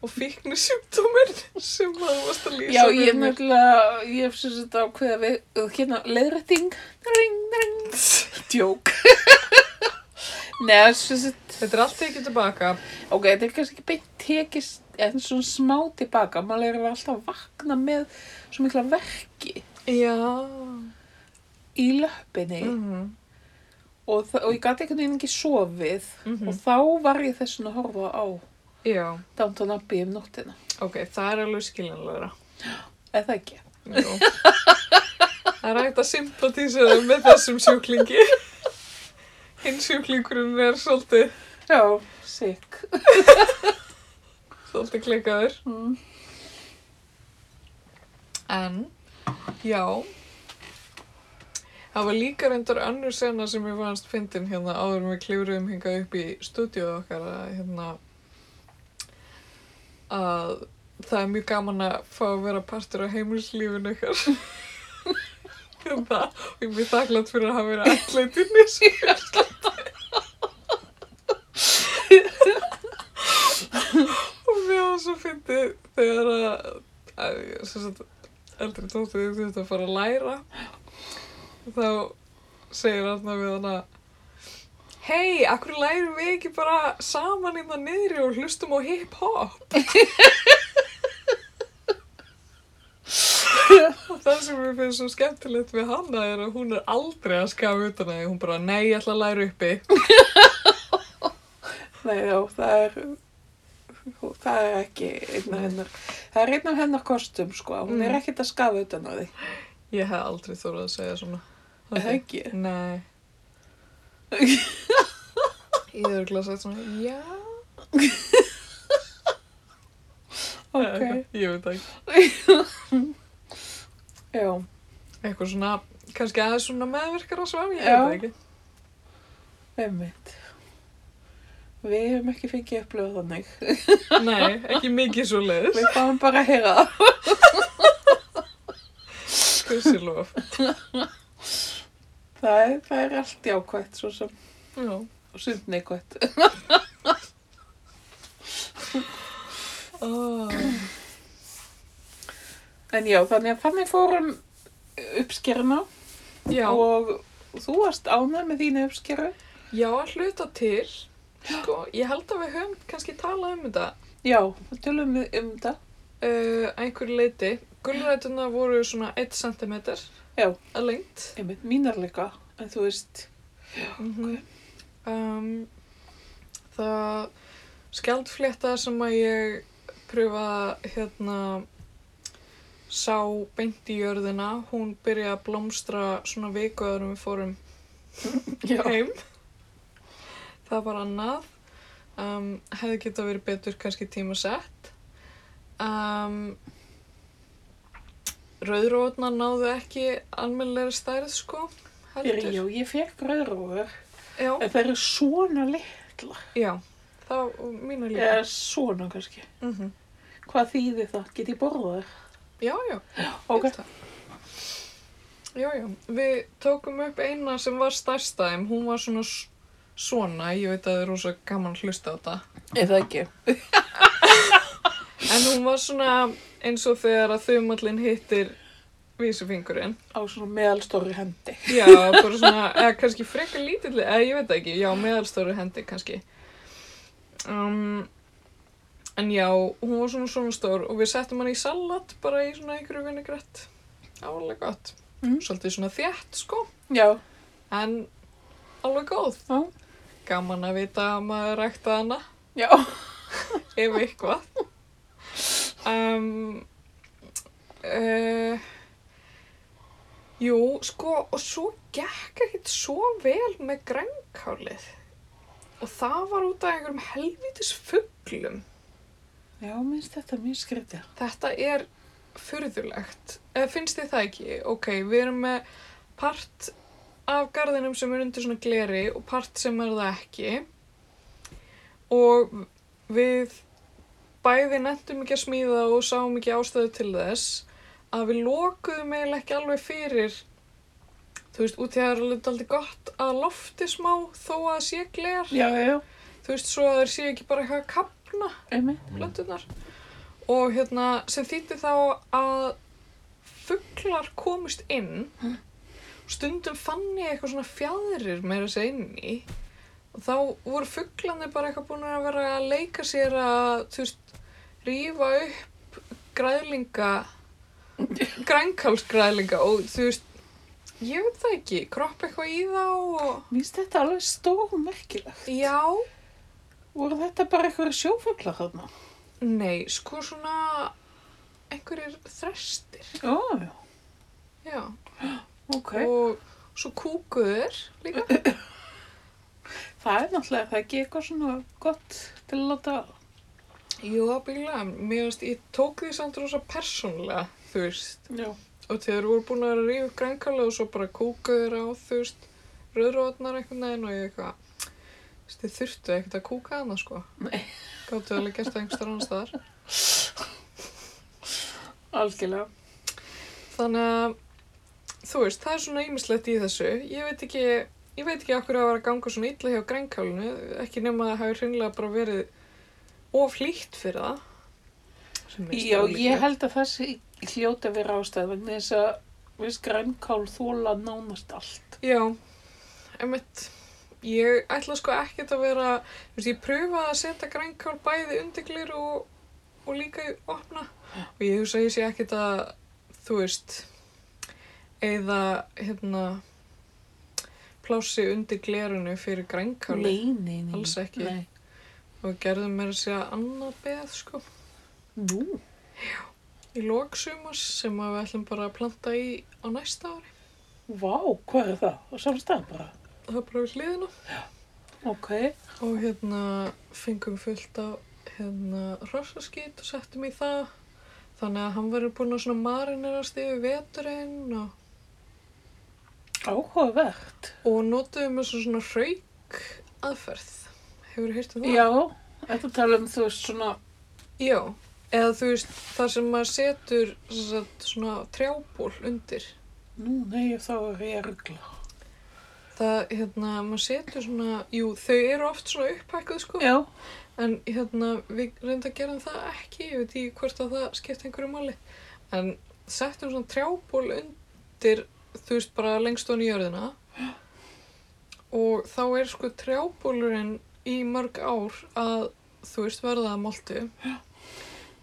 S1: og fíknisjúkdóminn sem að þú varst að lýsa
S2: Já, ég
S1: fyrir
S2: er
S1: mér.
S2: nefnilega, ég hef sem sagt ákveða við, uh, hérna, leiðrætting, ring, ring, djók. Nei, sem sagt,
S1: Þetta er allt tekið tilbaka.
S2: ok, þetta er kannski ekki beint tekist, en svona smá tilbaka, maður er alltaf að vakna með svo mikla verki
S1: Já.
S2: í löppinni
S1: Mhm.
S2: og, þa- og ég gati einhvern veginn ekki sofið
S1: Mhm.
S2: og þá var ég þessin að horfa á
S1: Já,
S2: Downton Abbey um nóttina,
S1: ok, það er alveg skiljanlegra.
S2: eða ekki.
S1: Jú. Það er hægt að sympatísera með þessum sjúklingi. Hinn sjúklingurinn er svolítið,
S2: Já, sick.
S1: svolítið klikaður.
S2: Mm.
S1: En, já. Það var líka reyndar önnur sena sem ég fannst fyndin hérna áður en við klifruðum hingað upp í stúdíóð okkar að hérna að það er mjög gaman að fá að vera partur á heimilslífinu ykkar. hérna, og ég er mjög þakklátt fyrir að hafa verið alleitinni sem ég er og mér var svo fyndið þegar að, að sem sagt, eldri tóttið þið þurfti að fara að læra þá segir Arna við hana hei, akkur lærum við ekki bara saman í það niðri og hlustum á hip-hop og það sem mér finnst svo skemmtilegt við hana er að hún er aldrei að skafa utan að því hún bara, nei, ég ætla að læra uppi
S2: Nei, já, það er, það er ekki einn af hennar, það er einn af hennar kostum, sko, hún er
S1: Mm.
S2: ekkert að skafa utan á því,
S1: ég hef aldrei þórað að segja svona
S2: er það ekki?
S1: Nei. ég er glasað sagt svona, já.
S2: Ok,
S1: Ég veit ekki.
S2: já,
S1: Eitthvað svona, kannski aðeins svona meðverkar að svara, ég
S2: Já.
S1: veit það ekki.
S2: einmitt. Við hefum ekki fengið upplöðu þannig,
S1: Nei, ekki mikið svo leiðis.
S2: við fáum bara að heyra það.
S1: Hversi lof.
S2: Það er, það er allt jákvætt, svo sem,
S1: Já.
S2: og sund neikvætt.
S1: Oh.
S2: En já, þannig að þannig fórum uppskerna
S1: Já,
S2: og þú varst ánægð með þínu uppskeru.
S1: já, að hluta til. Sko, ég held að við höfum kannski talað um þetta
S2: Já, þá tölum við um þetta.
S1: uh, einhverju leiti. Gulrætuna voru svona 1 cm
S2: Já.
S1: að lengt.
S2: Einmitt mínar líka, en þú veist,
S1: -hmm. um, það skjaldflétta sem að ég pröfa hérna sá beint í jörðina hún byrjaði að blómstra svona viku áður en við fórum
S2: já.
S1: heim það var annað um, hefði geta verið betur kannski tímasett um, rauðrótna náðu ekki almennilega stærð sko
S2: Fyrir,
S1: heldur
S2: já, ég fekk rauðrófur.
S1: já,
S2: En það eru svona litla.
S1: já, það mínu líka
S2: Eða svona kannski.
S1: Mhm.
S2: Hvað þýðir það? Get ég borðað þér?
S1: Já, já,
S2: Ok.
S1: ég það. Já, já, við tókum upp eina sem var stærsta en hún var svona s- svona, ég veit að það er rosa gaman að hlusta á þetta.
S2: Eða ekki.
S1: En hún var svona eins og þegar að þumallin hittir vísufingurinn.
S2: Á svona meðalstóri hendi.
S1: Já, bara svona, eða kannski frekar lítilli, eða ég veit það ekki, já, meðalstóru hendi kannski. Um, en já, hún var svona svona stór og við settum hann í salat bara í svona einhverju vinnigrett. Álega gott.
S2: Mm.
S1: Svolítið svona þétt, sko.
S2: Já.
S1: En alveg góð.
S2: Já.
S1: Gaman að vita að maður rækta hana,
S2: Já.
S1: ef eitthvað. Um, uh, jú, sko, og svo gekk ekkert svo vel með grænkálið. Og það var út af einhverjum helvítis fuglum.
S2: Já, minnst þetta mjög skrítið.
S1: Þetta er furðulegt. Eða finnst þið það ekki? Ok, við erum með part af garðinum sem er undir svona gleri og part sem er það ekki og við bæði nettum ekki að smíða og sáum ekki ástöðu til þess að við lokuðum eiginlega ekki alveg fyrir þú veist, út í að það er alveg daldið gott að lofti smá þó að það sé gler
S2: Já, já, já,
S1: þú veist, svo að þeir sé ekki bara eitthvað að kapna
S2: einmitt.
S1: plötunar og hérna sem þýtti þá að fuglar komust inn stundum fann ég eitthvað svona fjadrir meira að segja inn í og þá voru fuglarnir bara eitthvað búin að vera að leika sér að þú veist, rífa upp græðlinga grænkalsgræðlinga og þú veist ég veit það ekki, kropp eitthvað í þá og
S2: Mér finnst þetta alveg stórmerkilegt.
S1: já
S2: Voru þetta bara eitthvað sjófuglar þarna?
S1: Nei, sko svona einhverjir þrestir,
S2: Já, já,
S1: já,
S2: ok.
S1: og svo kúkuður líka.
S2: Það er náttúrulega, það er ekki eitthvað svona gott til að láta
S1: Jú, það bíla, mér veist, ég tók því samt rosa persónlega, þú veist,
S2: Já.
S1: og þegar voru búin að vera að rífa upp grænkála og svo bara kúkuður á, þú veist, rauðrótnar einhvern veginn og ég eitthvað, þú veist, þið þurftu ekkert að kúka hana, sko.
S2: Nei.
S1: Gáttu alveg gert það einhverstaðar annars staðar.
S2: Algjörlega.
S1: Þannig að, þú veist, það er svona ýmislegt í þessu. Ég veit ekki, ég veit ekki okkur að vera að ganga svona illa hjá grænkálinu, ekki nema að það hafi hreinlega bara verið oflýtt fyrir það. Sem mér finnst
S2: Já, ég
S1: ólíklegt.
S2: held að það sé hljóta við rástæð vegna þess að viðst grænkál þóla nánast allt.
S1: Já, emitt, ég ætla sko ekkert að vera, þú veist, ég pröfaði að setja grænkál bæði undirglir og, og líka í opna og ég hugsa að ég sé ekkert að, þú veist, eða, hérna, plási undir glerinu fyrir grænkáli
S2: Nei, nei, nei.
S1: Alls ekki.
S2: Nei.
S1: og gerðum mér að segja annað beð, sko,
S2: Nú,
S1: í loksumars sem að við ætlum bara að planta í á næsta ári,
S2: vá, hvað er það? Á samstæðan bara.
S1: það er bara við hliðina.
S2: Ok.
S1: Og hérna fengum fullt af hérna hrossaskýt og settum í það. Þannig að hann verður búinn að svona marinirast yfir veturinn og,
S2: Áhugavert.
S1: og notuðum þessu svona hrauk aðferð. Hefur þú heyrt um það?
S2: Já, þetta tala um þú veist svona,
S1: Já. Eða þú veist, þar sem maður setur sem sagt, svona trjából undir.
S2: nú, nei, þá er ég að ruggla.
S1: Það, hérna, maður setur svona, jú, þau eru oft svona upphækkuð, sko.
S2: Já,
S1: En hérna, við reynda að gera það ekki, ég veit ekki hvort að það skipti einhverju máli. En settum svona trjából undir, þú veist, bara lengst ofan í jörðina. Og þá er sko trjábólurinn í mörg ár að, þú veist, verða að moltu.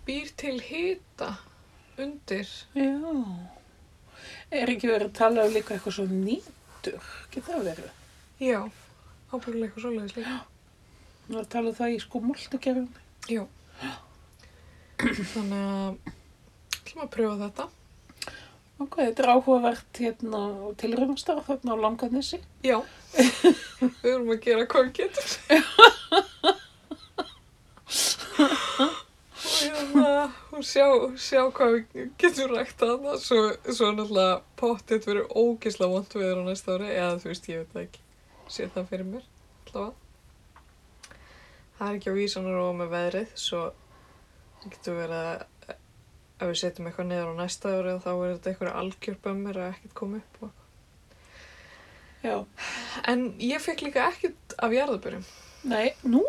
S1: Býr til hita undir.
S2: já. Er ekki verið að tala um líka eitthvað svo nýtur? Getur það verið?
S1: Já, ábyggulega eitthvað svoleiðis líka.
S2: Nú að tala um það í sko moltugerðinni.
S1: Já. Þannig að, ætlum að pröfa þetta.
S2: Ok, þetta er áhugavert hérna og tilraunastar þarna á Langanessi.
S1: Já, við erum að gera hvað við getum. og hérna, og sjá, sjá hvað við getum rækt að það, svo, svo náttúrulega pottið verið ógisla vond við á næsta ári, eða þú veist, ég veit það ekki, sé það fyrir mér, allavega. Það er ekki á vísanar og með veðrið, svo það getur verið að ef við setjum eitthvað neður á næsta ári þá verður þetta einhverja algjörbömmir að ekkert koma upp og
S2: Já.
S1: En ég fekk líka ekkert af jarðabörjum.
S2: Nei, nú.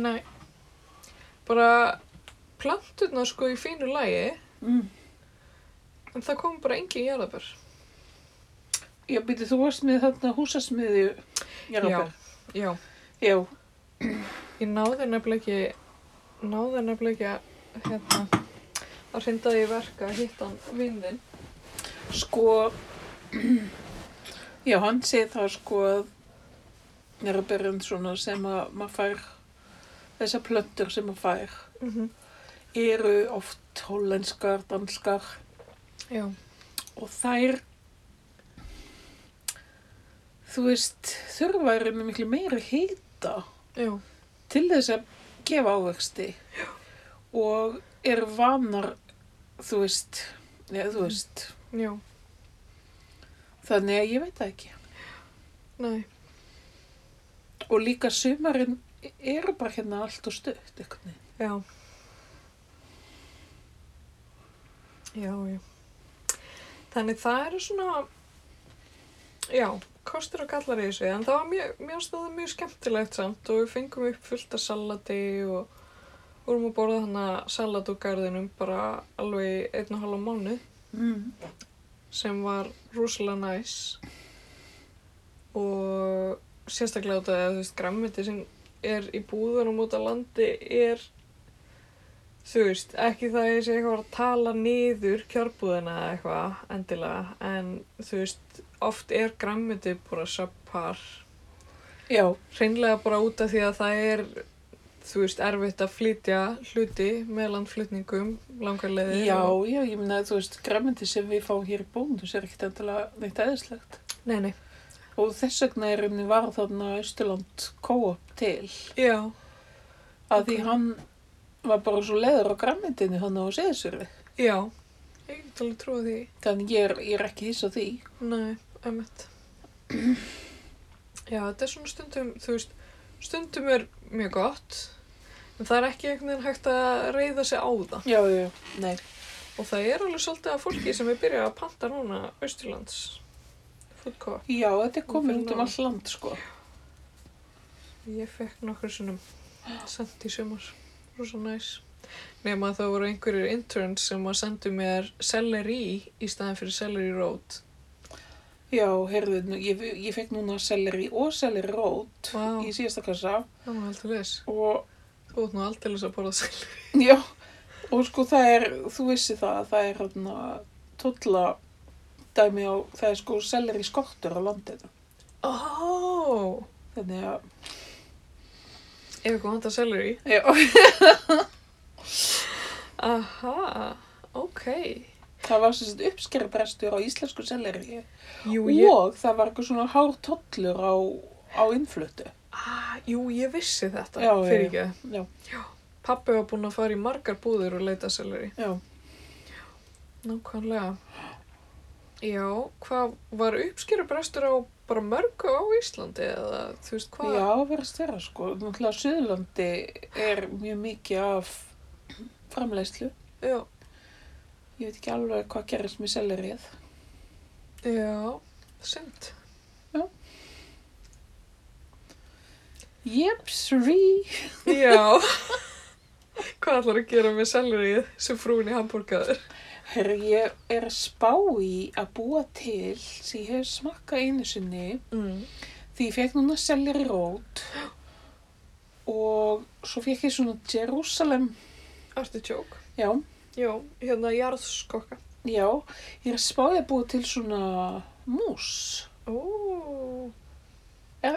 S1: Nei. Bara planturnar sko í fínu lægi,
S2: Mm.
S1: en það kom bara engin jarðabör.
S2: Já, býtið þú varst með þarna húsasmiðju. Jarðarber.
S1: Já,
S2: Já.
S1: ég náði nefnilega ekki, náði nefnilega ekki að, hérna, að hrinda því verka að hitta hann vindin.
S2: Sko, já, hann segir það sko að jarðarberinn svona sem að maður fær, þessar plöntur sem maður fær,
S1: Mm -hmm.
S2: eru oft hollenskar, danskar
S1: Já.
S2: og þær, þú veist, þurfa eru með miklu meira hýta.
S1: Já.
S2: til þess að gefa ávexti og eru vanar þú veist, ja, þú veist
S1: Já.
S2: þannig að ég veit það ekki
S1: Nei.
S2: Og líka sumarinn eru bara hérna allt og stutt einhvern veginn.
S1: Já. Já, já. Þannig það eru svona, já, kostur og gallar í þessu, en það var mjög, mjög stóðu mjög skemmtilegt samt og við fengum upp fullt af salati og vorum að borða þannig salat úr garðinum bara alveg í einn og halva mánu
S2: Mm.
S1: sem var rosalega næs og sérstaklega út af því að þú veist grammiti sem er í búðunum út af landi er þú veist, ekki það að ég sé eitthvað að tala niður kjörbúðina eða eitthvað endilega en þú veist, oft er grammiti bara subpar
S2: Já,
S1: hreinlega bara út af því að það er þú veist, erfitt að flytja hluti með landflutningum langarleiðir
S2: já,
S1: og...
S2: já, ég meina að þú veist, græmyndi sem við fáum hér í bónus er ekkert endilega neitt eðislegt.
S1: Nei, nei,
S2: Og þess vegna er einnig var þarna Östurland co-op til.
S1: já,
S2: Að því
S1: Ok.
S2: hann var bara svo leður á græmyndinni hann á seðisverfi.
S1: já ég get alveg trúið því
S2: Þannig ég er, ég er ekki hissa á því.
S1: Nei, emitt. Já, þetta er svona stundum, þú veist, stundum er mjög gott, en það er ekki einhvern veginn hægt að reyða sig á það.
S2: Já, já, nei.
S1: Og það er alveg svolítið af fólki sem er byrjað að panta núna Austurlands fútkóa.
S2: Já, þetta er komið
S1: Fyrir
S2: út um
S1: norðan.
S2: all land, sko.
S1: Ég fekk nokkur sinnum sendt í sumar, rosa næs. Nefn að það voru einhverjir interns sem að sendu mér celery í staðin fyrir celery road.
S2: Já, heyrðu, nú- ég, ég fekk núna seleri og seleri rót
S1: Vá,
S2: í síðasta kassa
S1: það var heldur þess.
S2: og,
S1: Þú ert nú aldrei að borða celery.
S2: já, og sko það er, þú vissi það, að það er hérna tólla dæmi á, það er sko seleri skortur á landinu.
S1: Ó!
S2: Þannig að,
S1: Ef eitthvað vantar celery.
S2: já,
S1: Aha, ok.
S2: það var sem sagt uppskerabrestur á íslensku seleri
S1: Jú, ég,
S2: og það var eitthvað svona hár tóllur á, á innflutu.
S1: ah, jú, ég vissi þetta
S2: Já, já,
S1: fyrir ekki.
S2: Já,
S1: Pappi var búinn að fara í margar búðir og leita selleri.
S2: já.
S1: Nákvæmlega. Já, hvað var uppskýrabrestur á bara mörgu á Íslandi eða þú veist hvað?
S2: Já, verðist vera sko. Náttúrulega Suðurlandi er mjög mikið af framleiðslu.
S1: Já,
S2: Ég veit ekki alveg hvað gerist með sellerið.
S1: já, synd.
S2: Jepsri!
S1: Já. hvað ætlar að gera með sellerið sem frúin í hambúrgaður?
S2: Herru, ég er að spá í að búa til sem ég hef smakkað einu sinni
S1: Mm.
S2: því ég fekk núna selleri rót og svo fekk ég svona Jerusalem,
S1: Artichoke.
S2: já,
S1: Já, hérna jarðskokka.
S2: já, ég er að spá í að búa til svona mús.
S1: Ó.
S2: Ja.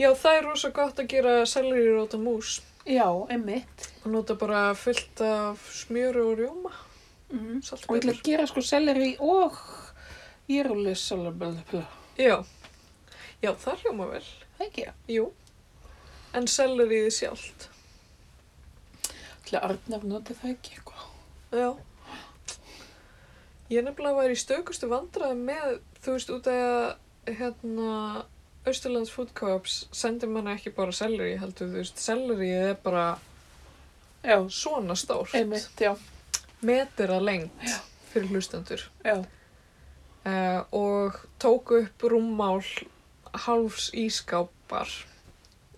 S1: Já, það er rosa gott að gera selleri róta mús.
S2: Já, emmitt.
S1: Og nota bara fullt af smjöru og rjóma.
S2: Mm. Og ég ætla
S1: Saltpipur.
S2: að gera sko selleri og jörgulissalabla.
S1: Já. Já, það hljóma vel.
S2: Það ekki. Ég
S1: Jú. En selleriði sjálft.
S2: ætla að Arnar noti það ekki eitthvað.
S1: Já. Ég nefnilega var í stökustu vandræði með, þú veist, út af að, hérna, Austurlands Food Co-ops sendir manna ekki bara selleri, heldur, þú veist, selleriði er bara
S2: Já,
S1: svona stórt.
S2: einmitt, já.
S1: Metir að lengt fyrir hlustendur.
S2: Já,
S1: uh, og tók upp rúmmál hálfs ískápar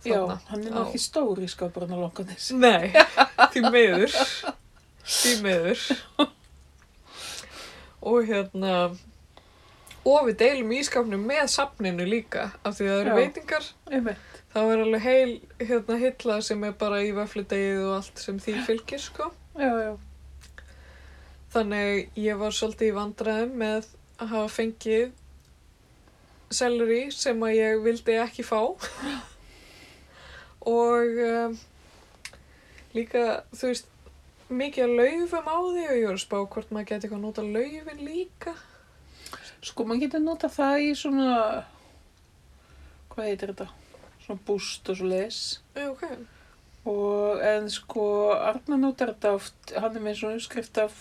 S2: já
S1: þarna.
S2: hann er nú
S1: á-
S2: ekki stór í skapurinn á langanessi.
S1: Nei, því meður því meður og hérna og við deilum ískápnum með safninu líka af því að það eru
S2: Já.
S1: veitingar
S2: Einmitt.
S1: það er alveg heil hérna hilla sem er bara í vöfludegið og allt sem því fylgir sko
S2: Já, já.
S1: Þannig ég var svolítið í vandræðum með að hafa fengið celery sem að ég vildi ekki fá og um, líka, þú veist, mikið að laufum á því og ég var að spá hvort maður geti eitthvað að nota laufin líka.
S2: Sko, maður getur nota það í svona, hvað heitir þetta? Svona búst og svo leis.
S1: Já, Ok,
S2: Og, en sko, Arnar notar þetta oft, hann er með svona uppskrift af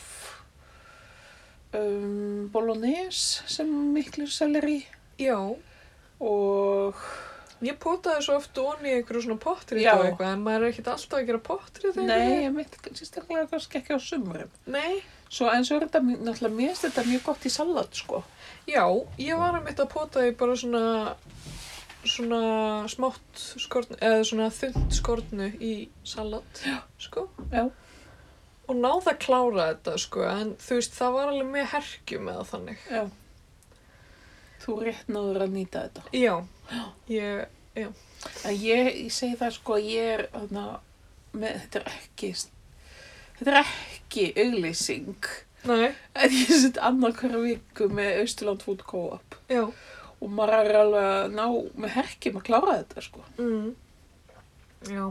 S2: um, bolognese sem miklu selleri.
S1: já,
S2: og
S1: Ég potaði svo oft onni í einhverju svona pottrið
S2: Já.
S1: og eitthvað, en maður er ekkert alltaf að gera pottrið
S2: nei, ég mitt sérstaklega kannski ekki á sumrum.
S1: Nei,
S2: Svo eins og er þetta mjög- náttúrulega, mér finnst þetta mjög gott í salat sko.
S1: já, ég var að mitt að potaði bara svona svona smátt skortnu, eða svona þund skortnu í salat, sko.
S2: Já.
S1: Og náða að klára þetta, sko, en þú veist, það var alveg með herkjum eða þannig.
S2: Já. Þú rétt náður að nýta þetta.
S1: Já, ég,
S2: En ég, ég segi það sko, ég er, þarna, með, þetta er ekki, þetta er ekki auglýsing.
S1: nei,
S2: En ég sitt annað hverja viku með Austurland Food Co-op
S1: já,
S2: og maður er alveg að ná með herkjum að klára þetta sko.
S1: mm, já.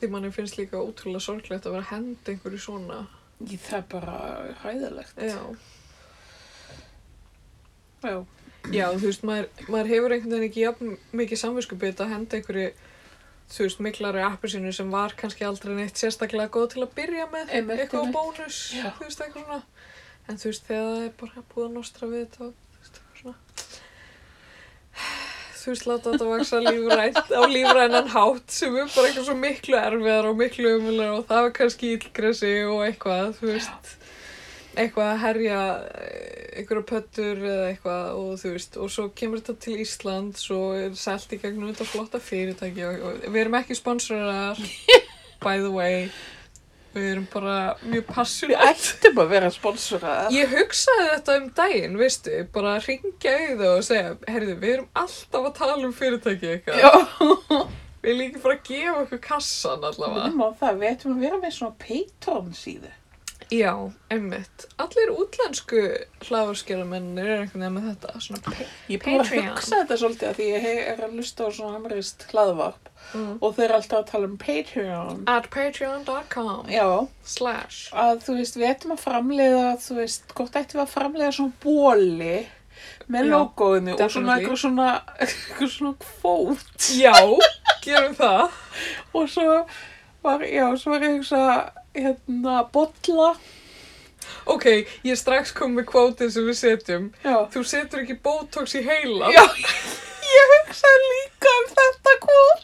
S1: Því manni finnst líka ótrúlega sorglegt að vera hend einhverju svona.
S2: Ég, það er bara hæðilegt.
S1: Já.
S2: Já.
S1: Já, þú veist, maður, maður hefur einhvern veginn ekki jafn mikið samvinskupið að henda einhverju, þú veist, miklari appelsinu sem var kannski aldrei neitt sérstaklega góð til að byrja með,
S2: Einmitt,
S1: eitthvað
S2: einmitt.
S1: bónus,
S2: Já.
S1: þú veist, eitthvað svona. En þú veist, þegar það er bara búið að nostra við þetta og þú veist, eitthvað svona. Þú veist, láta þetta vaksa lífrænt á lífrænan hátt sem er bara eitthvað svo miklu erfiðar og miklu umular og það er kannski illgresi og eitthvað, þú veist eitthvað að herja eh, einhverja pöttur eða eitthvað og þú veist, og svo kemur þetta til Íslands og er selt í gegnum þetta flotta fyrirtæki og, og við erum ekki sponsorar by the way við erum bara mjög
S2: Við
S1: passionate
S2: ættum að vera sponsorað.
S1: ég hugsaði þetta um daginn, veistu bara ringja í það og segja heyrðu, við erum alltaf að tala um fyrirtæki eitthvað,
S2: Já.
S1: við erum líka bara að gefa okkur kassan allavega
S2: Nefnum á það, við ættum að vera með svona Patreon síðu.
S1: já, einmitt, allir útlensku hláðurskjörumennir er einhvern veginn með þetta svona pay
S2: Ég er búin að
S1: Patreon.
S2: hugsa þetta svolítið að því ég he- er að lusta á svona amrist hlaðvarp
S1: Mm.
S2: og þeir eru alltaf að tala um Patreon.
S1: at patreon.com
S2: Já,
S1: slash
S2: að þú veist, við ættum að framleiða, þú veist, gott ættum við að framleiða svona bóli með
S1: Já,
S2: logoinu og svona
S1: definitely.
S2: eitthvað svona, eitthvað svona kvót
S1: já, gerum það
S2: og svo var, já, svo var ég að hugsa, hérna, bolla,
S1: ok, ég er strax kom með kvótið sem við setjum
S2: já.
S1: þú setur ekki botox í heila
S2: Já, ég hugsaði líka um þetta kvót.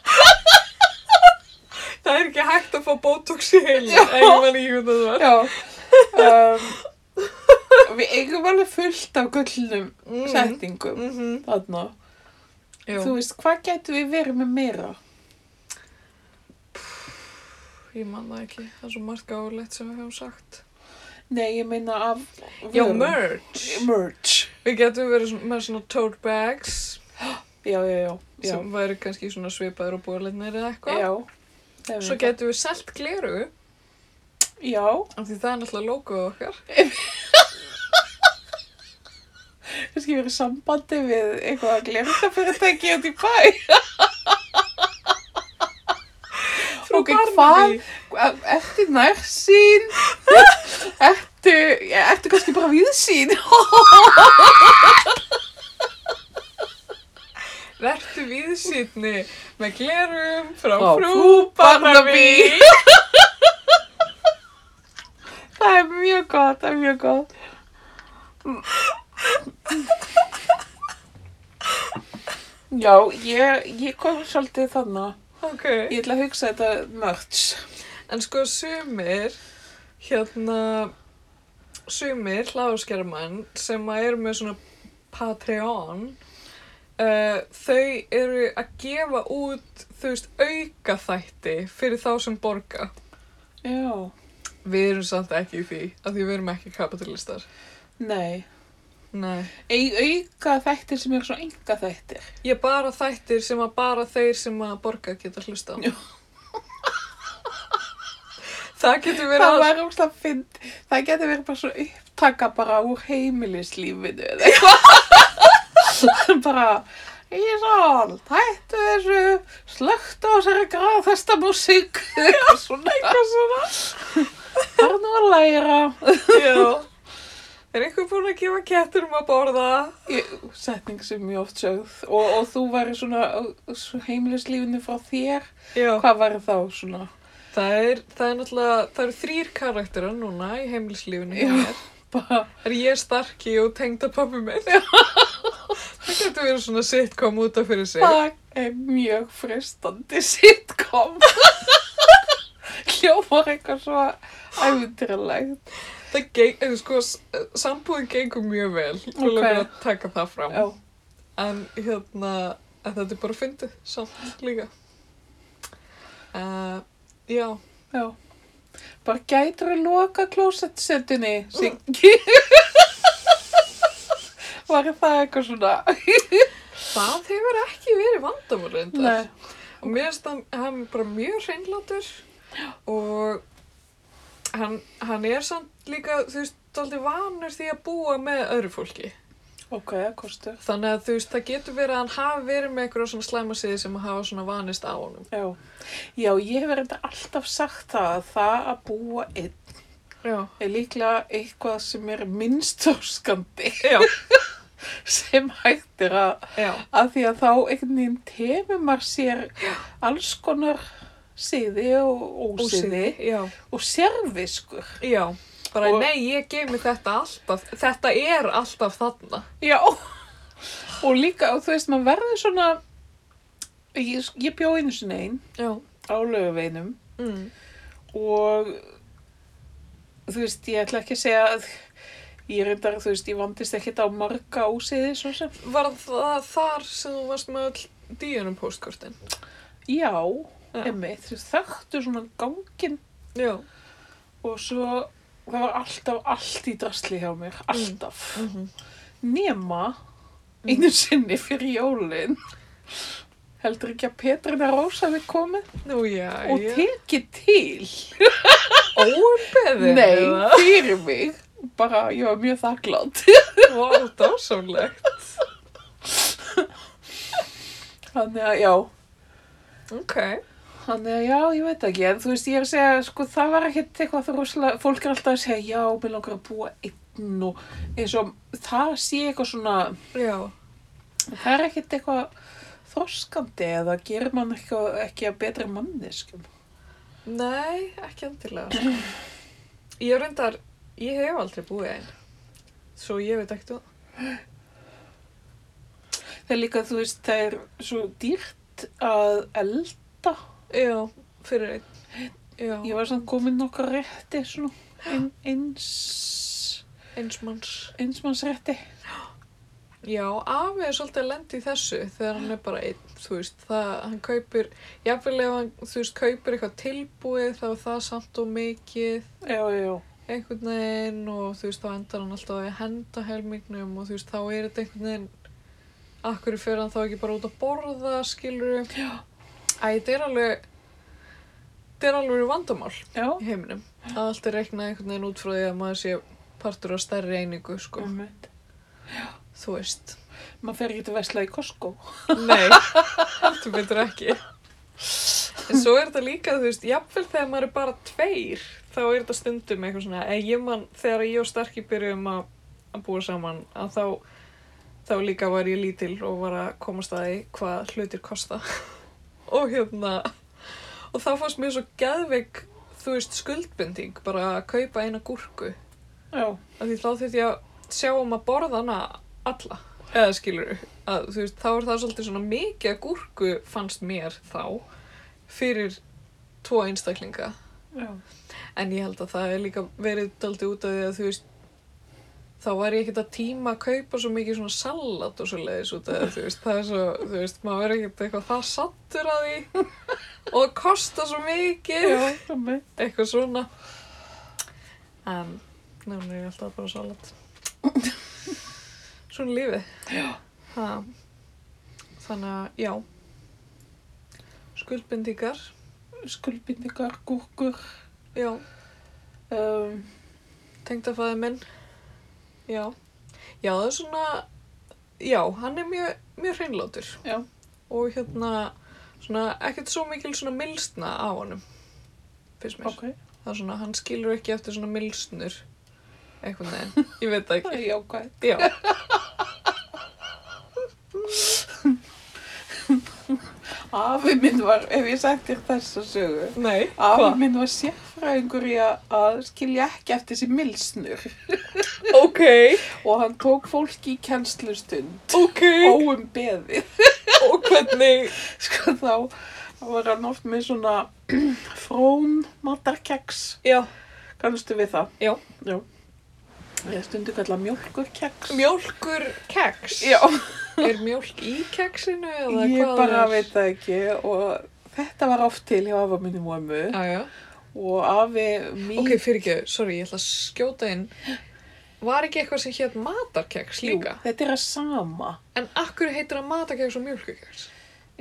S1: það er ekki hægt að fá botox í heila
S2: Já.
S1: eigum hann í hvernig það var
S2: Já, um, við eigum alveg fullt af gullnum
S1: Mm.
S2: settingum
S1: mm -hmm.
S2: þarna. Þú veist, hvað getum við verið með meira?
S1: ég man það ekki, það er svo margt gáðulegt sem við hefum sagt
S2: Nei, ég meina af...
S1: já,
S2: vörum.
S1: merch
S2: Merch.
S1: við getum verið svona, með svona tote bags
S2: Já, já, já. já.
S1: sem væri kannski svona svipaður og búarleitnir eða eitthvað
S2: Já. Nefnum
S1: svo
S2: það.
S1: getum við selt gleru
S2: Já,
S1: af því það er náttúrulega logoð okkar
S2: kannski verið sambandi við eitthvað að glemta fyrirtæki út í bæ.
S1: Frú
S2: Ok,
S1: Barnaby.
S2: hvað? Ertu nærsýn? Ertu, ja, ertu kannski bara viðsýn?
S1: Vertu viðsýtni með glerum frá
S2: Frá
S1: frú,
S2: Frú
S1: Barnaby.
S2: Það er mjög gott, það er mjög gott. Já, ég, ég kom svolítið þannig.
S1: Ok,
S2: Ég ætla að hugsa þetta mörts.
S1: en sko sumir, hérna, sumir hláðskjaramann sem að eru með svona Patreon, uh, þau eru að gefa út, þú veist, auka þætti fyrir þá sem borga.
S2: Já.
S1: Við erum samt ekki í því, af því við erum ekki kapitalistar.
S2: Nei.
S1: Nei.
S2: Ei, auka þættir sem eru svona enga þættir.
S1: Ég bara þættir sem að bara þeir sem að borga geta hlusta á.
S2: Já.
S1: Það getur verið
S2: Það
S1: alls.
S2: var óslega fynd. Það getur verið bara svona upptaka bara úr heimilislífinu eða eitthvað. bara, Ísól, hættu þessu, slögt á þessari gráð þesta músík. Eitthvað svona, eitthvað svona. Það er nú að læra.
S1: Já. Er einhver búinn að gefa ketturum að borða?
S2: Ég- Setning sem ég oft sögð. Og, og þú væri svona svo heimilislífinu frá þér.
S1: Já.
S2: Hvað væri þá svona?
S1: Það er, það er náttúrulega, það eru þrýr karakterar núna í heimilislífinu hjá
S2: Já.
S1: mér.
S2: Bara,
S1: Það er ég starki og tengda pappi minn. það getur verið svona sitcom út af fyrir sig.
S2: Það er mjög fristandi sitcom. Hljómar eitthvað svo ævintýralegt.
S1: Það geng, eh, sko, s- eh, sambúðin gengur mjög vel. Þú
S2: Ok.
S1: okay. langar að taka það fram.
S2: Já,
S1: En hérna, en þetta er bara fyndið samt líka. Uh, já,
S2: já. Bara gætur að loka klósettsetinni, Siggi. Var það eitthvað svona?
S1: það hefur ekki verið vandamál reyndar.
S2: Nei.
S1: Og mér finnst hann, hann bara mjög hreinlátur og hann, hann er samt líka, þú veist, aldrei vanur því að búa með öðru fólki.
S2: Ok, það kostur.
S1: Þannig að þú veist, það getur verið að hann hafi verið með einhverja svona slæma síði sem hafa svona vanist á honum.
S2: Já. Já, ég hef reynda alltaf sagt það að það að búa einn
S1: Já.
S2: er líklega eitthvað sem er minnst þorskandi
S1: Já,
S2: sem hægt er að
S1: já.
S2: að því að þá einhvern veginn tefur maður sér alls konar siði og ósiði
S1: Já,
S2: og sérviskur.
S1: já. Bara,
S2: Og-
S1: nei, ég geymi þetta alltaf. Þetta er alltaf þarna.
S2: Já, og líka, og þú veist, maður verður svona, ég, ég bjó einu sinni einn
S1: Já.
S2: á lögaveinum
S1: Mm.
S2: og þú veist, ég ætla ekki að segja að ég reyndar, þú veist, ég vandist ekkit á marga ósiði svo sem.
S1: Var það þar sem þú varst með all díunum póstkortin?
S2: Já,
S1: Já.
S2: emmi, þú þekktu svona gangin
S1: Já.
S2: og svo það var alltaf allt í drasli hjá mér, alltaf.
S1: Mm -hmm.
S2: nema
S1: Mm.
S2: einu sinni fyrir jólin heldur ekki að Petrina Rósa við komið
S1: Nú, já,
S2: og
S1: já.
S2: tekið til
S1: Óumbeðin?
S2: nei,
S1: eða?
S2: fyrir mig bara, ég var mjög þakklátt
S1: Vá, dásamlegt.
S2: þannig að já,
S1: Ok.
S2: þannig að já, ég veit ekki en þú veist, ég er að segja, sko, það var ekkit eitthvað það rosalega, fólk er alltaf að segja já, mér langar að búa einn og eins og það sé eitthvað svona
S1: Já.
S2: það er ekkit eitthvað þroskandi eða gerir mann ekki, ekki að betra sko." manneskum
S1: Nei, ekki endilega. sko. Ég reyndar, ég hef aldrei búið einn. Svo ég veit ekkert um það.
S2: Það er líka, þú veist, það er svo dýrt að elda.
S1: Já, fyrir einn. Já,
S2: Ég var samt komin nokkar rétti, svona, ein, eins,
S1: einsmanns.
S2: einsmannsrétti.
S1: Já, afi er svolítið að lenda í þessu þegar hann er bara einn, þú veist, það, hann kaupir, jafnvel ef hann, þú veist, kaupir eitthvað tilbúið þá er það samt og mikið
S2: Já, já,
S1: einhvern veginn og þú veist, þá endar hann alltaf á því að henda helmingnum og þú veist, þá er þetta einhvern veginn, akkur fyrir hann þá ekki bara út að borða, skilur við. Já. Æ, þetta er alveg, þetta er alveg vandamál
S2: já.
S1: í heiminum. Að allt er reiknað einhvern veginn út frá því að maður sé partur á stærri einingu, sko,
S2: Einmitt.
S1: þú veist.
S2: Maður fer ekki til vesla í Costco.
S1: Nei, heldur betur ekki. En svo er þetta líka, þú veist, jafnvel þegar maður er bara tveir, þá er þetta stundum eitthvað svona, en ég man, þegar ég og Starki byrjum að, að búa saman, að þá, þá líka var ég lítil og var að komast að því hvað hlutir kosta. og hérna, og þá fannst mér svo geðveik, þú veist, skuldbending, bara að kaupa eina gúrku.
S2: Já,
S1: Af því þá þurfti ég að sjá um að borða hana alla. Eða skilur, að, þú veist, þá er það svolítið svona mikið að gúrku fannst mér þá fyrir tvo einstaklinga.
S2: já.
S1: En ég held að það er líka verið daldið út af því að þú veist, þá var ég ekkert að tíma að kaupa svo mikið svona salat og svo leiðis út af því, þú veist, það er svo, þú veist, maður verið ekkert eitthvað það sattur að því og það kostar svo mikið,
S2: Já, einmitt.
S1: eitthvað svona. En, nefnir ég alltaf bara salat. Svona er lífið. Já. Ha. Þannig að, já. Skuldbindingar,
S2: Skulbindingar, gúrkur.
S1: já.
S2: Um,
S1: Tengdafæði minn, já. Já, það er svona, já, hann er mjög, mjög hreinlátur.
S2: Já.
S1: Og hérna, svona, ekkert svo mikil svona milstna á honum, finnst mér.
S2: ok,
S1: Það er svona, hann skilur ekki eftir svona milsnur, einhvern veginn, ég veit það ekki.
S2: það er jákvæð.
S1: Já.
S2: Afi minn var, ef ég sagt þér þessa sögu,
S1: Nei,
S2: afi
S1: hvað?
S2: minn var sérfræðingur í að, að skilja ekki eftir þessi milsnur.
S1: Ok,
S2: og hann tók fólki í kennslustund
S1: ok,
S2: óum beði
S1: og hvernig,
S2: sko þá var hann oft með svona frón matarkeks
S1: já,
S2: kannustu við það?
S1: Já.
S2: Já. Ég stundu kalla mjölkurkeks
S1: mjólkur keks.
S2: Já,
S1: Er mjólk í keksinu eða hvað
S2: ég bara
S1: er?
S2: veit það ekki og þetta var oft til hjá afa minni og ömmu
S1: Já, já.
S2: og afi mín
S1: Ok, fyrirgeðu, sorry, ég ætla að skjóta inn. Var ekki eitthvað sem hétt matarkeks
S2: Jú,
S1: líka?
S2: Þetta er að sama.
S1: En akkur heitir það matarkeks og mjölkukeks?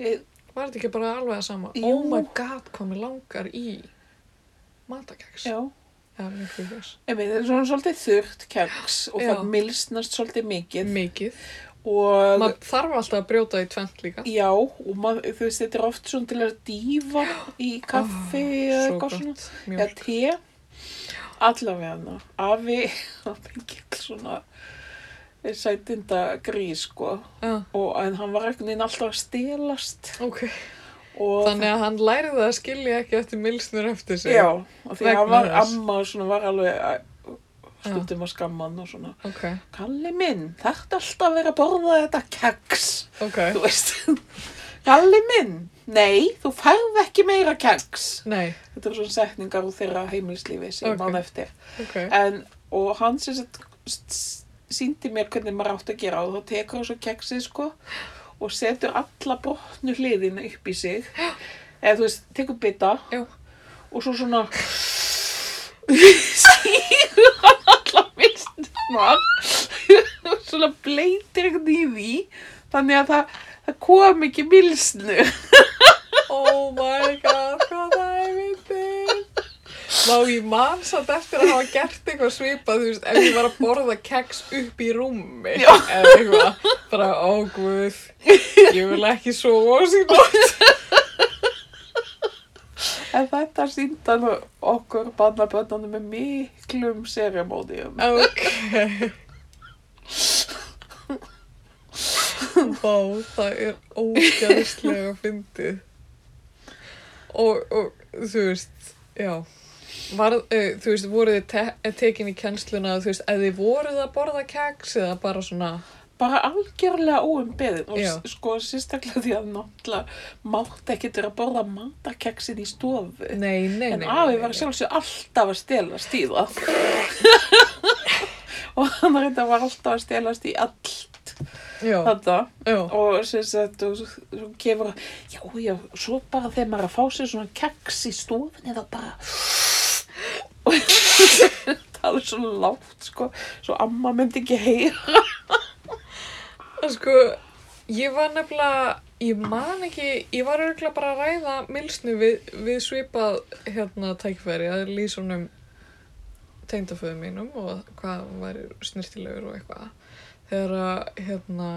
S2: Ég,
S1: Var þetta ekki bara alveg að sama?
S2: Jú.
S1: Oh my god, hvað mér langar í matarkeks.
S2: já.
S1: Eða mjölkukeks.
S2: Emi, þetta er svona svolítið þurrt keks og
S1: Já.
S2: það milsnast svolítið mikið
S1: Mikið.
S2: og
S1: Maður þarf alltaf að brjóta í tvent líka.
S2: já, og maður, þú veist, þetta er oft svona til að dýfa í kaffi eða
S1: Svo
S2: eitthvað svona.
S1: gott.
S2: eða
S1: Mjólk.
S2: te allavega hana afi hann gekk svona eh, sætinda grís sko
S1: Já,
S2: og, en hann var ekkert neina alltaf að stelast
S1: ok.
S2: og
S1: Þannig að hann læri það að skilja ekki eftir milsnur eftir sig.
S2: já, og því hann
S1: Vegna
S2: var
S1: þess.
S2: amma og svona var alveg að- stundum að skamma hann og svona
S1: Ok,
S2: Kalli minn, þetta alltaf að vera að borða þetta keks
S1: ok.
S2: þú veist Kalli minn, nei, þú færð ekki meira keks
S1: Nei,
S2: þetta eru svona setningar úr þeirra heimilislífi sem okay.
S1: Ok.
S2: mann eftir
S1: ok.
S2: en, og hann sem sagt síndi mér hvernig maður átt að gera og þá tekur hann svo keksið sko og setur alla brotnu hliðina upp í sig eða þú veist, tekur bita
S1: Já.
S2: og svo svona sígur hann alla mistnar og svona bleitir ekkert í því þannig að það, það kom ekki milsnu
S1: Oh my god, hvað það er myndið. Vá, ég man satt eftir að hafa gert eitthvað svipað, þú veist, ef ég var að borða keks upp í rúmi.
S2: Já.
S1: Eða eitthvað, bara, ó guð, ég vil ekki sofa á sín nótt.
S2: en þetta síndi hann okkur bannaböndunum með miklum seremónium
S1: Ok. Vá, það er ógæðislega fyndið. Og, og, þú veist, já. Var, uh, þú veist, voruð þið te eh, tekin í kennsluna, þú veist, eða þið voruð að borða keks eða bara svona,
S2: bara algjörlega óumbeðin og
S1: Já.
S2: s- sko sérstaklega því að náttúrulega mátt ekki vera að borða matarkeksin í stofu
S1: nei, nei,
S2: en
S1: nei.
S2: afi
S1: nei,
S2: var
S1: nei.
S2: sjálfsög alltaf að stelast í það og hann reynda var alltaf að stelast í allt
S1: Já,
S2: þetta
S1: já,
S2: og sérstaklega og s- svo kemur að já já svo bara þegar maður er að fá sér svona keks í stofunni þá bara og það er svo lágt sko svo amma myndi ekki heyra
S1: sko, ég var nefnilega, ég man ekki, ég var örgulega bara að ræða milsnu við, við svipað, hérna, tækifæri að lýsa honum tengdaföðu mínum og hvað hann var snirtilegur og eitthvað. Þegar að, hérna,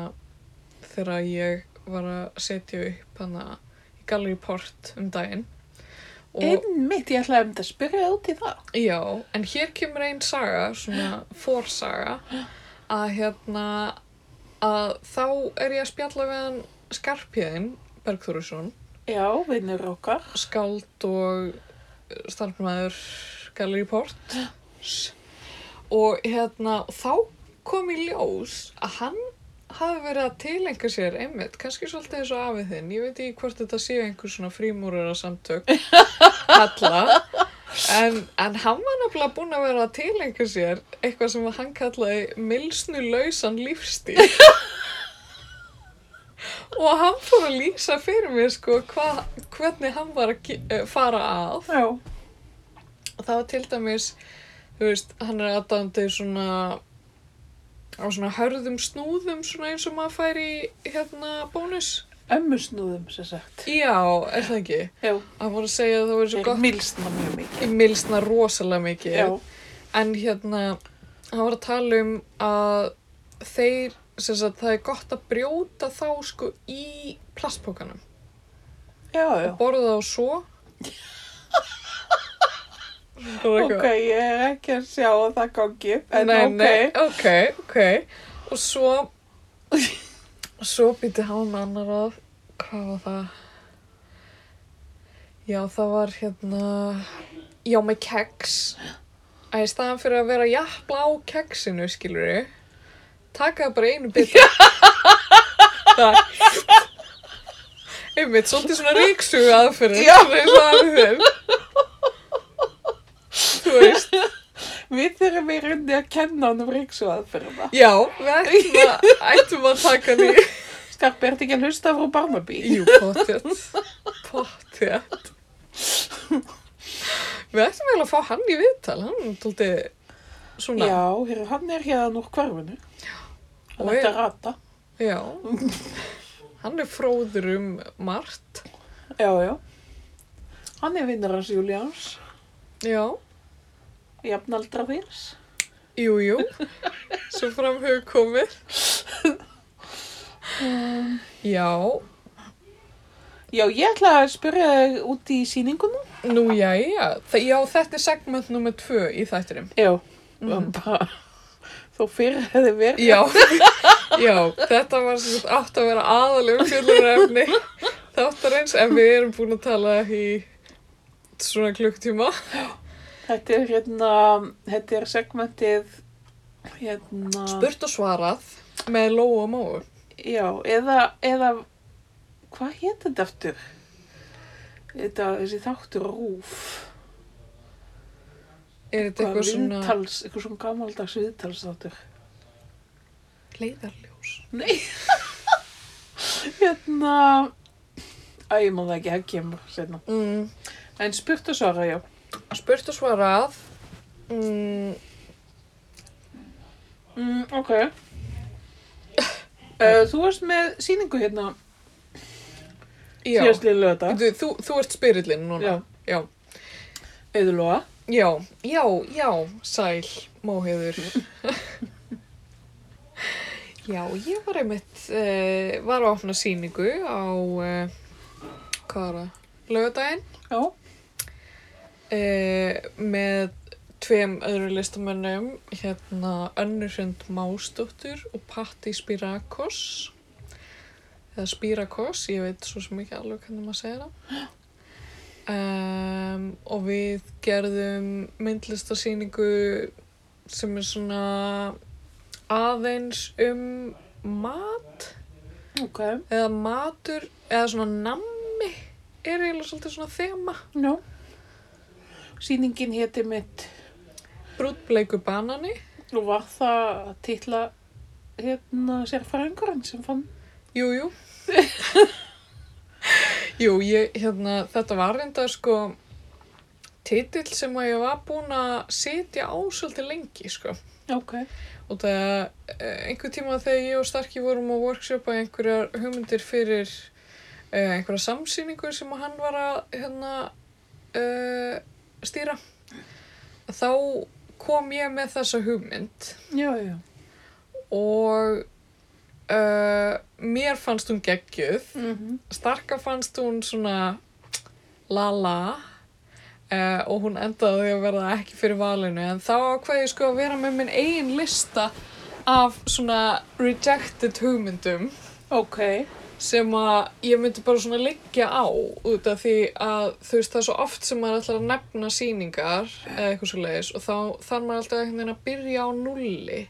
S1: þegar ég var að setja upp hana í Gallery Port um daginn. Og,
S2: einmitt ég ætlaði um þetta að spyrja út í það
S1: já, en hér kemur einn saga, svona forsaga, að hérna, að þá er ég að spjalla við hann Skarpjöðin, Bergþóruðsson,
S2: Já, vinnur okkar.
S1: skáld og starfmaður Gallery Port og hérna og þá kom í ljós að hann hafi verið að tilengja sér einmitt, kannski svolítið eins og afið þinn ég veit ekki hvort þetta séu einhver svona frímúrara samtök kalla en, en hann var nefnilega búinn að vera að tilengja sér eitthvað sem hann kallaði milsnulausan lífstíl og hann fór að lýsa fyrir mér sko hva, hvernig hann var að ge- eh, fara að
S2: Já.
S1: og það var til dæmis þú veist, hann er aðdændi svona á svona hörðum snúðum svona eins og maður fær í hérna bónus
S2: Ömmusnúðum, sem sagt.
S1: já, er það ekki?
S2: Já.
S1: hann voru að segja að það verið svo
S2: Þeir
S1: gott
S2: milsna mjög mikið.
S1: í milsna rosalega mikið
S2: Já.
S1: en hérna hann var að tala um að þeir sem sagt, það er gott að brjóta þá sko í plastpókanum
S2: Já, já.
S1: borða þá svo Það var
S2: Ok,
S1: eitthvað.
S2: ég er ekki að sjá að það gangi, en
S1: nei,
S2: ok.
S1: nei, ok, ok og svo svo býti hann annar að hvað var það já það var hérna já með keks að í staðan fyrir að vera jafnla á keksinu, skilur við, taka það bara einu bita. Það- Einmitt, svolítið svona ríksugu aðferðin.
S2: Já.
S1: Eins og aðferðin. Þú veist,
S2: Við þurfum í rauninni að kenna hann um ríksu aðferða.
S1: já, við ættum að, ættum að taka hann í.
S2: Skarpi, ertu ekki að hlusta frá Barnaby?
S1: Jú, pottjætt. Pottjætt. Við ættum eiginlega að fá hann í viðtal, hann er tóltið svona.
S2: Já, heyrðu, hann er hérna úr hverfinu. Hann
S1: Og
S2: ætti
S1: er-
S2: að rata.
S1: Já. Hann er fróður um margt.
S2: Já, já. Hann er vinnur hans Júlíans,
S1: Já,
S2: jafnaldra þýrs.
S1: jú, jú. Svo fram hefur komið. Já,
S2: Já, ég ætla að spyrja þig út í síningunum.
S1: nú jæja. Þa- Já, þetta er segment nummer tvö í þættinum.
S2: Já, bara, þó fyrir hefði verið.
S1: Já, já, þetta var sem sagt átt að vera aðalegum fjöllurefni þáttarins en við erum búin að tala í svona klukktíma.
S2: Þetta er hérna, þetta er segmentið, hérna,
S1: Burt og svarað með lóu og móu.
S2: já, eða, eða, hvað hétt þetta aftur? Þetta, þessi þáttur rúf.
S1: Er þetta eitthvað svona
S2: Viðtals, eitthvað svona gamaldags viðtals þáttur.
S1: leiðarljós?
S2: Nei. hérna, æ, ég má það ekki, það kemur sérna.
S1: Mm.
S2: En spurt og svara, já.
S1: Burt og svarað. Mm.
S2: Mm, ok. Uh, þú varst með síningu hérna
S1: Já,
S2: síðastlið lögða.
S1: þú, þú, þú ert spyrillinn núna.
S2: Já.
S1: Já.
S2: Auðurlóa.
S1: já, já, já, sæl, móheður. já, ég var einmitt, uh, var að opna sýningu á, uh, hvað var það, lögadaginn
S2: Já.
S1: uh, með tveim öðru listamönnum, hérna Önnurund Másdóttur og Patti Spirakos, eða Spirakos, ég veit svo sem ekki alveg hvernig maður segir það. um, og við gerðum myndlistarsýningu sem er svona aðeins um mat
S2: Ok.
S1: eða matur eða svona nammi er eiginlega svolítið svona þema
S2: Já. Sýningin héti mitt
S1: brútbleiku banani
S2: og var það titla hérna sérfræðingurinn sem fann.
S1: Jú, jú. jú, ég, hérna, þetta var reynda sko titill sem að ég var búin að sitja á svolítið lengi, sko.
S2: Ok.
S1: Og það, einhver tíma þegar ég og Starki vorum að workshopa einhverjar hugmyndir fyrir uh, einhverja samsýningu sem að hann var að hérna, uh, stýra, þá kom ég með þessa hugmynd
S2: Já, já.
S1: og uh, mér fannst hún geggjöð
S2: Mm
S1: Starka fannst hún svona la-la uh, og hún endaði á því að verða ekki fyrir valinu en þá ákveði ég sko að vera með minn eigin lista af svona rejected hugmyndum
S2: Ok.
S1: sem að ég myndi bara svona liggja á út af því að þú veist það er svo oft sem maður ætlar að nefna sýningar eða eitthvað svo leiðis og þá þarf maður alltaf einhvern veginn að byrja á nulli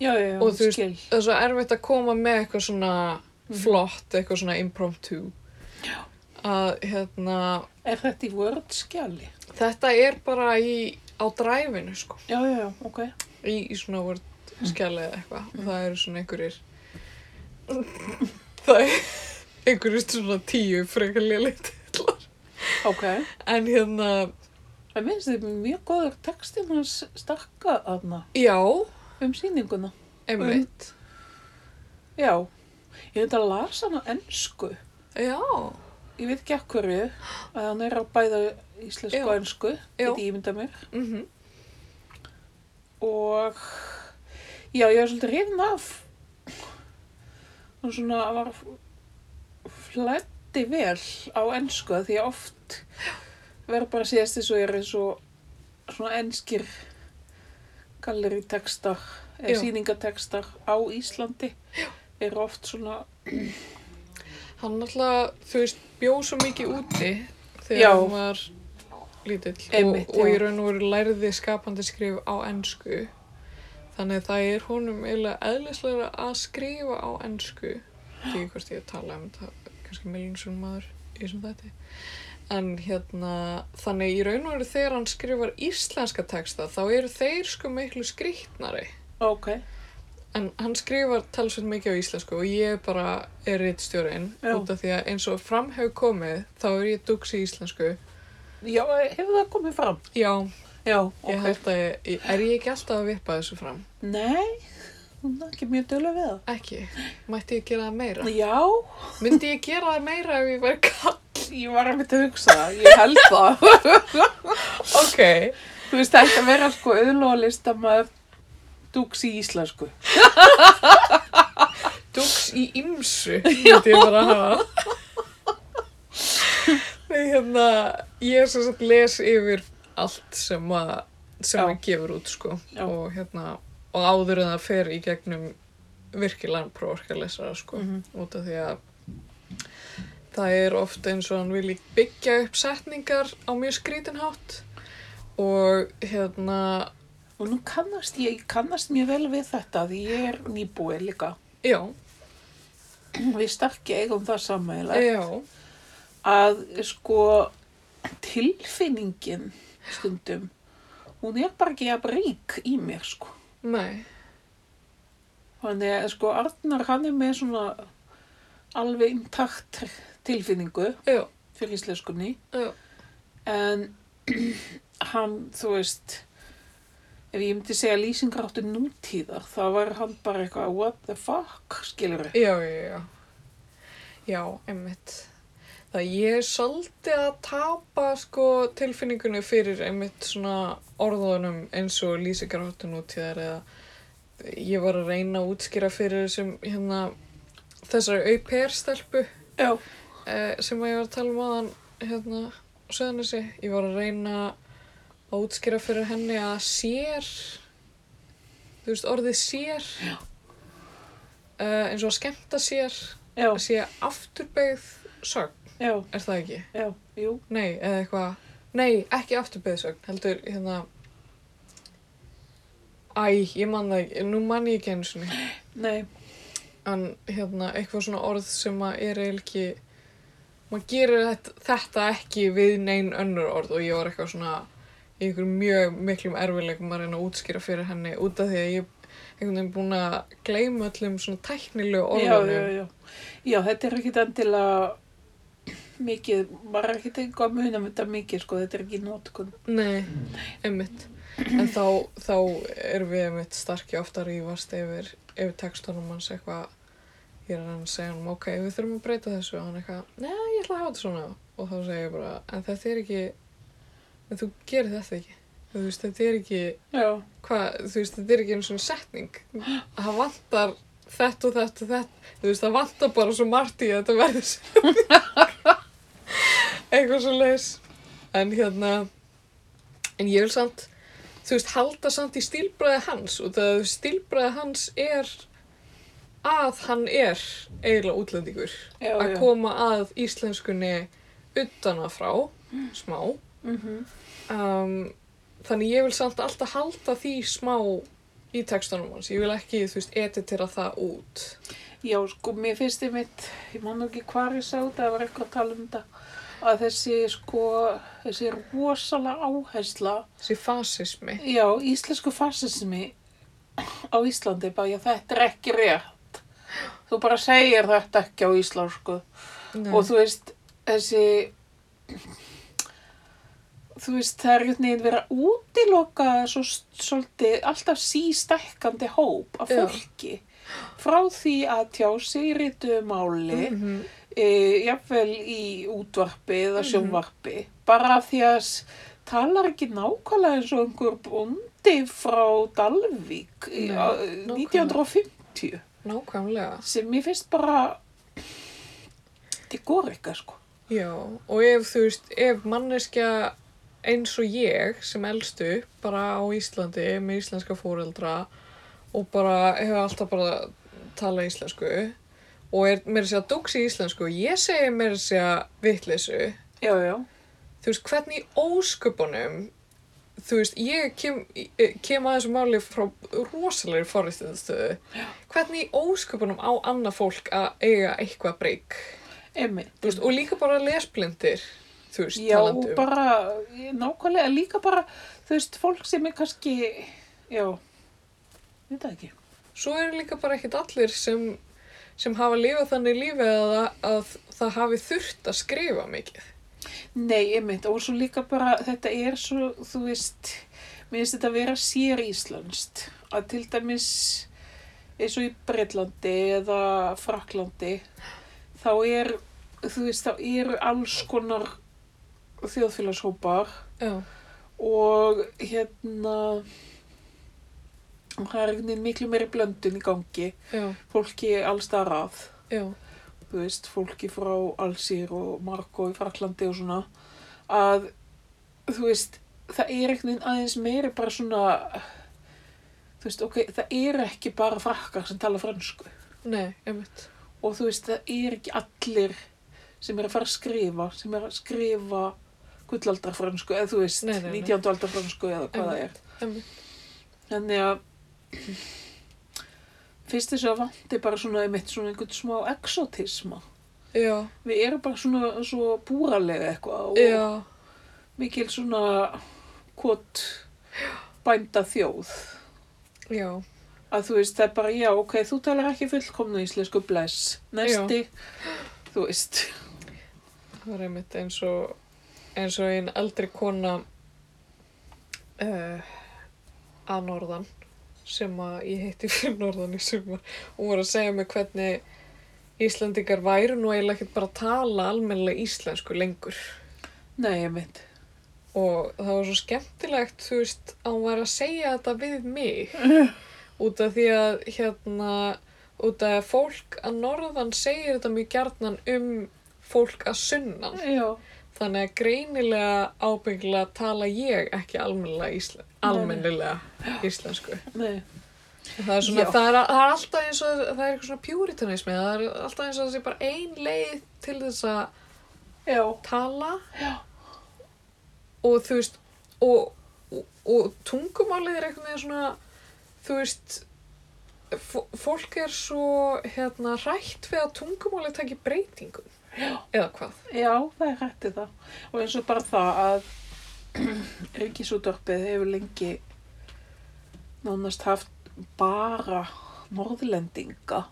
S2: Já, já, já.
S1: Og þú veist-
S2: skil.
S1: það er svo erfitt að koma með eitthvað svona flott, eitthvað svona impromptu að hérna
S2: Er þetta í Word skjali?
S1: Þetta er bara í, á dræfinu, sko.
S2: Já, já, já. Ok.
S1: Í, í svona vort skjalið eða eitthvað. Og það eru svona einhverjir... það er einhverjir svona tíu frekar lélitt.
S2: Ok.
S1: En hérna,
S2: Það minnst þið mjög góður textin hans starka aðna
S1: já,
S2: um sýninguna.
S1: einmitt.
S2: Já. Ég hefði að lasa hann á ennsku.
S1: Já,
S2: Ég veit ekki ekkur við að hann er á bæða íslensku
S1: Já.
S2: og ennsku.
S1: Já.
S2: Þetta ímynda mér.
S1: mhm.
S2: Og já, ég er svolítið hrifin af. Hún svona var flætti vel á ennsku því að oft verður bara síðast eins og ég er eins og svona ennskir gallerítekstar eða
S1: Já.
S2: sýningatekstar á Íslandi eru oft svona
S1: Hann alltaf, þú veist, bjóð svo mikið úti
S2: Já.
S1: þegar hann var lítill
S2: Einmitt,
S1: og, og
S2: já.
S1: í raun og veru lærði skapandi skrif á ensku þannig að það er honum eiginlega eðlislega að skrifa á ensku því hvort ég tala um það kannski miljónsum maður í þessum þætti en hérna þannig í raun og veru þegar hann skrifar íslenska texta þá eru þeir sko miklu skrýtnari
S2: Ok,
S1: En hann skrifar talsveit mikið á íslensku og ég bara er rittstjórin
S2: Já.
S1: út af því að eins og fram hefur komið þá er ég dugs í íslensku.
S2: já, hefur það komið fram?
S1: Já,
S2: Já,
S1: ég
S2: ok.
S1: held að ég, er ég ekki alltaf að vippa þessu fram?
S2: Nei, hún er ekki mjög dölu við það.
S1: Ekki. Mætti ég gera það meira?
S2: Já,
S1: Myndi ég gera það meira ef ég væri kall?
S2: ég var að mynda að hugsa það, ég held það.
S1: Ok.
S2: Þú veist, það ætti að vera sko auðlóðalist að maður dúks í íslensku.
S1: Dugs í ymsu, myndi ég bara hafa. Nei, hérna, ég er sem sagt les yfir allt sem að, sem
S2: Já.
S1: að gefur út, sko.
S2: Já.
S1: Og hérna, og áður en það fer í gegnum virkilega prófarkalesara, sko.
S2: Mhm.
S1: Út af því að það er oft eins og hann vilji byggja upp setningar á mjög skrítinhátt. Og hérna,
S2: Og nú kannast ég, ég kannast mjög vel við þetta því ég er nýbúið líka.
S1: já,
S2: Við starki eigum það sammeila
S1: já,
S2: að sko tilfinningin stundum, hún er bara ekki að rík í mér sko.
S1: nei,
S2: Þannig að sko Arnar hann er með svona alveg intakt tilfinningu
S1: já,
S2: fyrir íslenskunni
S1: já,
S2: en hann, þú veist, ef ég myndi segja lýsingráttu nútíðar þá var hann bara eitthvað what the fuck, skilur við.
S1: já, já, já. Já, einmitt. Það ég er svolítið að tapa sko tilfinningunni fyrir einmitt svona orðunum eins og lýsingarháttun út í þær eða ég var að reyna að útskýra fyrir þessum hérna þessari au-pair-stelpu
S2: Já,
S1: eh, sem að ég var að tala um aðan hérna söðanissi. Ég var að reyna að útskýra fyrir henni að sér, þú veist orðið sér, eh, eins og að skemmta sér
S2: já,
S1: að sé afturbeigð sögn,
S2: já,
S1: er það ekki?
S2: já, jú.
S1: Nei, eða eitthvað, nei, ekki afturbeigð sögn, heldur hérna, æ, ég man það ekki, nú man ég ekki einu sinni,
S2: Nei,
S1: en hérna, eitthvað svona orð sem að er eiginlega ekki, maður gerir þetta, þetta ekki við neinn önnur orð og ég var eitthvað svona í einhverjum mjög miklum erfileikum að reyna að útskýra fyrir henni út af því að ég einhvern veginn búin að gleyma öllum svona tæknilegu
S2: já,
S1: orðunum.
S2: já, já. Já, þetta er ekkit endilega mikið, maður er ekkit eitthvað að muna um þetta mikið, sko, þetta er ekki nótkun.
S1: Nei, einmitt. En þá, þá erum við einmitt starki ofta að rífast yfir, yfir textunum hans eitthvað. Ég er að hann segja hann, ok, við þurfum að breyta þessu. Og hann eitthvað, neða, ég ætla að hafa þetta svona. Og þá segir ég bara, en þetta er ekki, en þú gerir þetta ekki. Þú veist, þetta er ekki,
S2: Já,
S1: hvað, þú veist, þetta er ekki einu svona setning. Það vantar þetta og þetta og þetta. Þú veist, það vantar bara svo margt í að þetta verður setning. Eitthvað svo leis. En hérna, en ég vil samt, þú veist, halda samt í stílbræði hans og það stílbræði hans er að hann er eiginlega útlendingur.
S2: já,
S1: Að
S2: já.
S1: koma að íslenskunni utanafrá, smá.
S2: Mhm.
S1: Um, þannig ég vil samt alltaf halda því smá í textunum hans. Ég vil ekki, þú veist, editera það út.
S2: Já, sko, mér finnst þið mitt, ég man nú ekki hvar ég sá þetta, það var eitthvað að tala um þetta, að þessi, sko, þessi rosalega áhersla,
S1: Þessi fasismi.
S2: já, íslensku fasismi á Íslandi, bara, já, þetta er ekki rétt. Þú bara segir þetta ekki á íslensku.
S1: Nei.
S2: og þú veist þessi þú veist það er einhvern veginn verið að útiloka svo, svolítið alltaf sístækkandi hóp af
S1: Já.
S2: fólki frá því að tjá sig í rítu máli mm
S1: Mhm.
S2: jafnvel í útvarpi eða sjónvarpi bara af því að s- talar ekki nákvæmlega eins og einhver bóndi frá Dalvík í-
S1: Nei,
S2: á-
S1: nákvæmlega.
S2: 1950
S1: Nákvæmlega.
S2: sem mér finnst bara til góður eitthvað sko
S1: Já, og ef, þú veist, ef manneskja eins og ég sem elst upp bara á Íslandi með íslenska fóreldra og bara hefur alltaf bara talað íslensku og er meira að segja dóks í íslensku, ég segi meira að segja vitleysu
S2: Já, já,
S1: þú veist, hvernig í ósköpunum, þú veist, ég kem, eh, kem að þessu máli frá rosalegri forréttindastöðu, hvernig í ósköpunum á annað fólk að eiga eitthvað breyk,
S2: einmitt.
S1: þú veist, og líka bara lesblindir, þú veist,
S2: Já, og
S1: talandi um.
S2: bara, ég- nákvæmlega, líka bara, þú veist, fólk sem er kannski, já, veit það ekki.
S1: Svo eru líka bara ekkit allir sem, sem hafa lifað þannig lífi að, að það hafi þurft að skrifa mikið.
S2: Nei, einmitt, og svo líka bara, þetta er svo, þú veist, mér finnst þetta að vera sér íslenskt, að til dæmis, eins og í Breitlandi eða Fraklandi, þá er, þú veist, þá eru alls konar þjóðfélagshópar,
S1: Já,
S2: og hérna og það er einhvern veginn miklu meiri blöndun í gangi
S1: já,
S2: fólki alls þar að
S1: já,
S2: þú veist, fólki frá Alsýr og Marko í Fraklandi og svona að þú veist, það er einhvern veginn aðeins meiri bara svona þú veist, ok, það eru ekki bara frakkar sem tala fransku
S1: nei, einmitt.
S2: og þú veist, það er ekki allir sem er að fara að skrifa sem er að skrifa gullaldar fransku eða þú veist,
S1: Nei, nei, nei.
S2: 19. aldar fransku eða hvað það er
S1: Einmitt.
S2: Þannig að fyrst þess að vanti bara svona einmitt svona einhvern smá exotisma.
S1: Já,
S2: Við erum bara svona svo búralega eitthvað og
S1: já,
S2: mikil svona kvot bænda þjóð.
S1: já,
S2: Að þú veist, það er bara, já, ok, þú talar ekki fullkomna íslensku bless. Næsti, þú veist.
S1: það er einmitt eins og, eins og einn eldri kona uh, að norðan sem að ég heitti fyrir norðan í sumar. Hún var að segja mig hvernig Íslandingar væru nú eiginlega ekkert bara að tala almennilega íslensku lengur.
S2: Nei, einmitt.
S1: og það var svo skemmtilegt þú veist að hún var að segja þetta við mig út af því að hérna út af að fólk að norðan segir þetta mjög gjarnan um fólk að sunnan
S2: Já,
S1: þannig að greinilega ábyggilega tala ég ekki almennilega, íslen, almennilega íslensku
S2: nei,
S1: það er,
S2: Já.
S1: svona, það, er, það er alltaf eins og það er eitthvað svona puritanismi það er alltaf eins og það sé bara ein leið til þess að
S2: já,
S1: tala
S2: Já.
S1: og þú veist og, og, og tungumálið er eitthvað með svona þú veist fó- fólk er svo hérna hrætt við að tungumálið taki breytingum Já. eða hvað
S2: já, það er hætti það. Og eins og bara það að Ríkisútvarpið hefur lengi nánast haft bara norðlendinga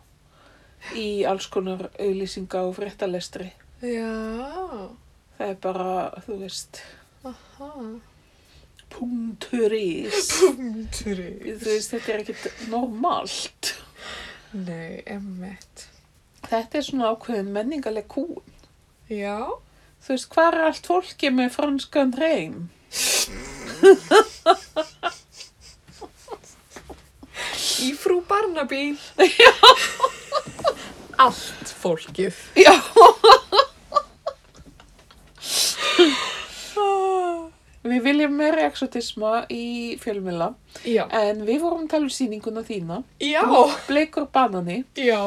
S2: í alls konar auðlýsinga og fréttalestri.
S1: Já,
S2: Það er bara, þú veist,
S1: aha
S2: punktur ís.
S1: Bumtri
S2: Þú veist, þetta er ekkert normalt.
S1: Nei, emmitt
S2: Þetta er svona ákveðin menningaleg kú.
S1: Já,
S2: Þú veist, hvað er allt fólkið með franskan reym?
S1: í frú Barnaby Já Allt fólkið
S2: Já. Við viljum meira exotisma í fjölmjöla
S1: Já
S2: en við vorum að tala um sýninguna þína.
S1: Já,
S2: Bleikur banani.
S1: já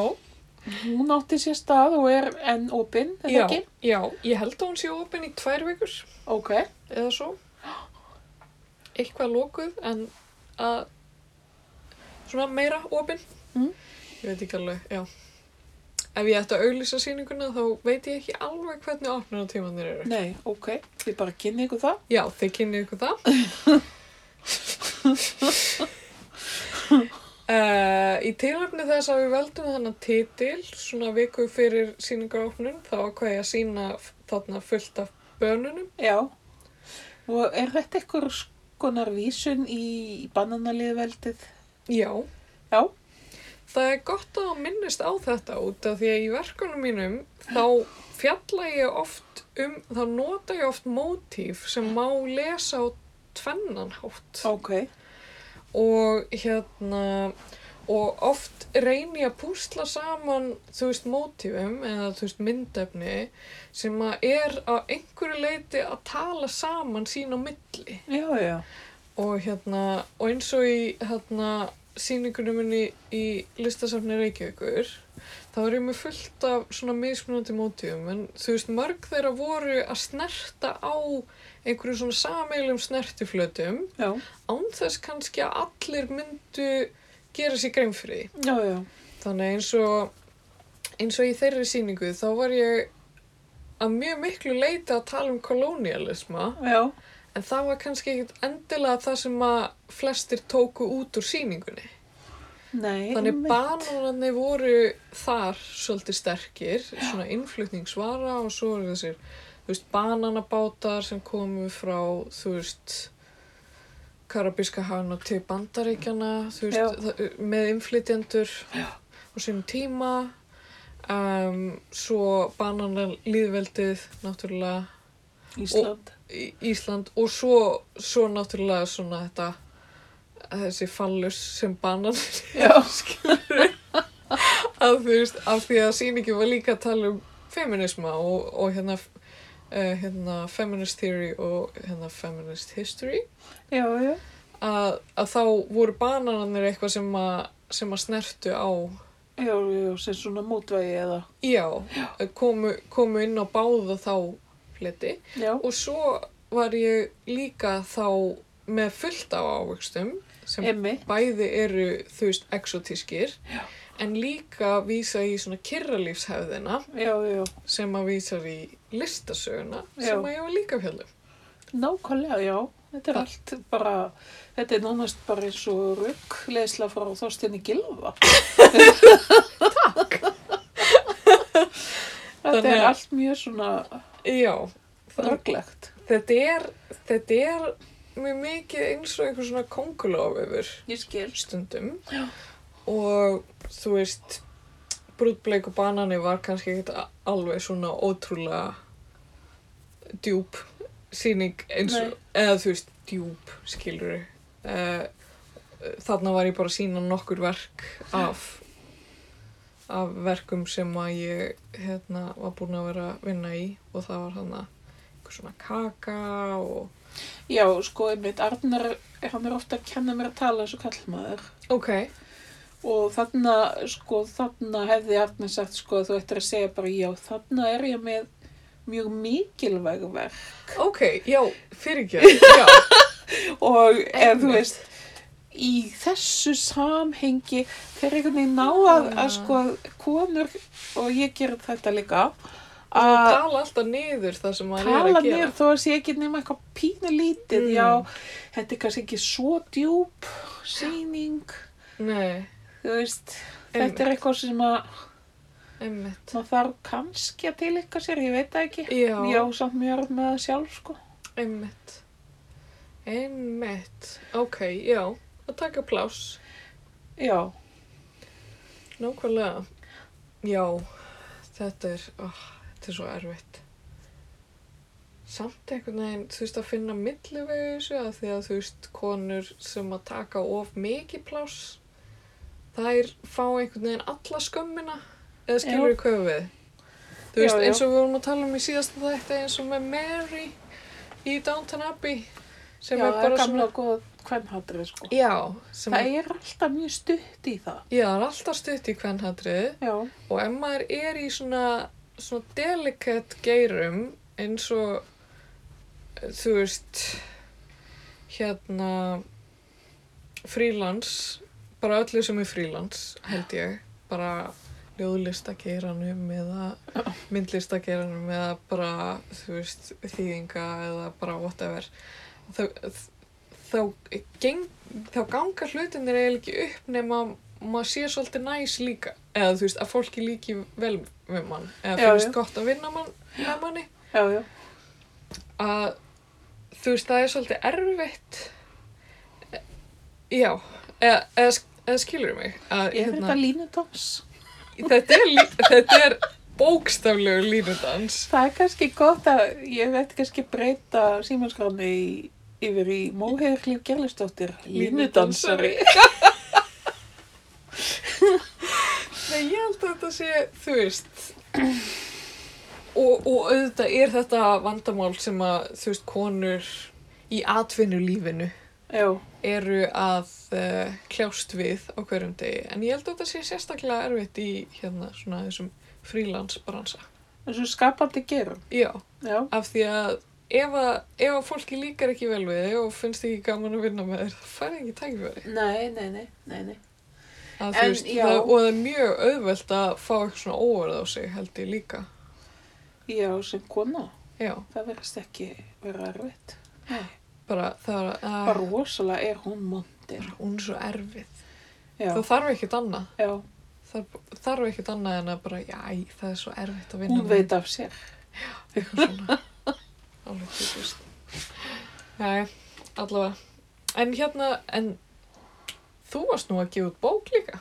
S2: Hún átti sér stað og er enn opinn, er það
S1: já,
S2: ekki?
S1: já, ég held að hún sé opinn í tvær vikur
S2: Ok.
S1: eða svo. Eitthvað lókuð en að svona meira opinn.
S2: Mm.
S1: Ég veit ekki alveg, já. Ef ég ætti að auglýsa sýninguna þá veit ég ekki alveg hvernig opnunartímanir eru.
S2: Nei, ok. Við bara kynni ykkur það.
S1: Já, þið kynnið ykkur það. Uh, í tilöfni þess að við veldum þennan titil svona viku fyrir sýningaróknun þá ákveði ég að sína þarna fullt af bönunum
S2: Já. Og er þetta eitthvað skonar vísun í bananaliðveldið?
S1: Já,
S2: Já.
S1: það er gott að minnist á þetta út af því að í verkunum mínum þá fjalla ég oft um, þá nota ég oft mótíf sem má lesa á tvennan hátt
S2: Ok.
S1: og hérna og oft reyni ég að púsla saman þú veist mótífum eða þú veist myndefni sem að er á einhverju leiti að tala saman sín á milli
S2: Já, já.
S1: og hérna og eins og í hérna síningunum minni í listasafni Reykjavíkur þá er ég með fullt af svona mismunandi mótíum en þú veist, mörg þeirra voru að snerta á einhverju svona sameilum snertiflötum
S2: já,
S1: án þess kannski að allir myndu gera sér grein fyrir því.
S2: já, já,
S1: Þannig eins og, eins og í þeirri síningu þá var ég að mjög miklu leita að tala um kolonialisma
S2: já,
S1: en það var kannski ekkit endilega það sem að flestir tóku út úr síningunni.
S2: nei.
S1: Þannig
S2: einmitt.
S1: bananarni voru þar svolítið sterkir, svona innflutningsvara og svo eru þessir, þú veist, bananabátar sem komu frá, þú veist, Karabíska hafna til bandaríkjana, þú veist, það, með innflytjendur og sínum tíma, um, svo bananalýðveldið, náttúrulega,
S2: Ísland.
S1: Í- Ísland og svo, svo náttúrulega svona þetta, þessi fallus sem bananir
S2: Já,
S1: að þú veist, af því að sýningin var líka að tala um feminisma og, og hérna, uh, hérna feminist theory og hérna feminist history
S2: já, já,
S1: að, að þá voru bananarnir eitthvað sem að, sem að snertu á
S2: já, já, sem svona mótvægi eða,
S1: já, Eh, komu, komu inn á báða þá fleti
S2: já,
S1: og svo var ég líka þá með fullt af ávöxtum sem
S2: emmi,
S1: bæði eru þú veist exotískir
S2: Já.
S1: en líka vísa í svona kyrralífshefðina
S2: já, já,
S1: sem að vísar í listasöguna
S2: Já.
S1: sem að ég var líka að um. fjallum.
S2: nákvæmlega, já, þetta er allt bara, þetta er nánast bara eins og ruggleisla frá Þorstinni Gilva. Takk. Þetta
S1: Þannig
S2: er
S1: að-
S2: allt mjög svona
S1: Já, það,
S2: rugglegt.
S1: þetta, er, þetta er mjög mikið eins og einhver svona konguloföfur
S2: Ég skil.
S1: stundum Já. og þú veist, brúðbleik og banani var kannski ekkert a- alveg svona ótrúlega djúb síning eins og,
S2: Nei.
S1: eða þú veist, djúb skilur uh, þarna var ég bara að sína nokkur verk af af verkum sem að ég hérna, var búin að vera að vinna í og það var hann einhver svona kaka og
S2: Já, sko, einmitt, Arnar, hann er ofta að kenna mér að tala eins og kallmaður
S1: ok,
S2: og þarna, sko, þarna hefði Arnar sagt, sko, að þú ættir að segja bara já, þarna er ég með mjög mikilvæg verk
S1: ok, já, fyrir ekki já
S2: og, eða, þú
S1: Einmitt.
S2: veist, í þessu samhengi, þeir einhvern veginn ná að,
S1: Já.
S2: að sko, konur, og ég gerir þetta líka,
S1: að
S2: að
S1: tala alltaf niður það sem maður er
S2: tala
S1: að gera
S2: mér þó að sé ekki nema eitthvað pínu lítið,
S1: Mm.
S2: já, þetta er kannski ekki svo djúp sýning,
S1: Nei,
S2: þú veist,
S1: Einmitt.
S2: þetta er eitthvað sem að
S1: einmitt
S2: maður þarf kannski að tilika sér, ég veit það ekki.
S1: Já,
S2: Já, samt mjög erfitt með það sjálf, sko.
S1: einmitt Einmitt Ok, já, að taka pláss
S2: Já,
S1: Nákvæmlega Já, þetta er oh, Þetta er svo erfitt Samt einhvern veginn, þú veist, að finna millivegu í þessu að því að þú veist, konur sem að taka of mikið pláss þær fá einhvern veginn alla skömmina eða skilur við hvað ég á við þú
S2: Já,
S1: veist
S2: já.
S1: eins og við vorum að tala um í síðasta þætti eins og með Mary í Downton Abbey sem
S2: já
S1: er
S2: það er
S1: bara
S2: gamla góða kvennhatrið, sko.
S1: svona já, sem
S2: Það er alltaf mjög stutt í það.
S1: já, er alltaf stutt í kvennhaldrið
S2: Já,
S1: og ef maður er í svona svona delicate geirum eins og þú veist hérna frílans bara öllu sem er frílans held ég, bara ljóðlistakeiranum eða myndlistakeiranum eða bara þú veist, þýðinga eða bara whatever þá, þá, geng, þá ganga hlutinir eiginlega ekki upp nema maður sé svolítið næs líka eða þú veist að fólki líki vel við mann eða
S2: Já,
S1: finnst
S2: já.
S1: gott að vinna mann, með manni
S2: já, já.
S1: að þú veist það er svolítið erfitt já eða, eða, eða skilur mig að, hérna,
S2: Ég er þetta línutans.
S1: þetta er, lí- þetta er bókstaflegu línudans
S2: Það er kannski gott að ég veit kannski breyta símanskráni í, yfir í Móheiðurklíf Gerlistóttir. Línudansari.
S1: Nei, ég held að þetta sé, þú veist og, og auðvitað er þetta vandamál sem að, þú veist, konur í atvinnulífinu
S2: Já,
S1: eru að uh, kljást við á hverjum degi. En ég held að þetta sé sérstaklega erfitt í hérna svona þessum frílansbransa.
S2: En svo skapandi gerum.
S1: Já,
S2: Já,
S1: af því að ef að, ef að fólki líkar ekki vel við þig og finnst ekki gaman að vinna með þér, það fær ekki tækifæri.
S2: nei, nei, nei, nei, nei.
S1: Að þú
S2: En,
S1: veist,
S2: já.
S1: það, og það er mjög auðvelt að fá eitthvað svona óverð á sig, held ég líka.
S2: Já, sem kona,
S1: Já,
S2: það verðist ekki vera erfitt.
S1: bara það er að,
S2: Bara rosalega er hún mondir.
S1: hún er svo erfið.
S2: Já,
S1: Það þarf ekkert annað.
S2: já,
S1: Það þarf ekkert annað en að bara, já, það er svo erfitt að vinna
S2: hún
S1: með
S2: veit af sér.
S1: eitthvað svona alveg typist Jæja, allavega en hérna, en þú varst nú að gefa út bók líka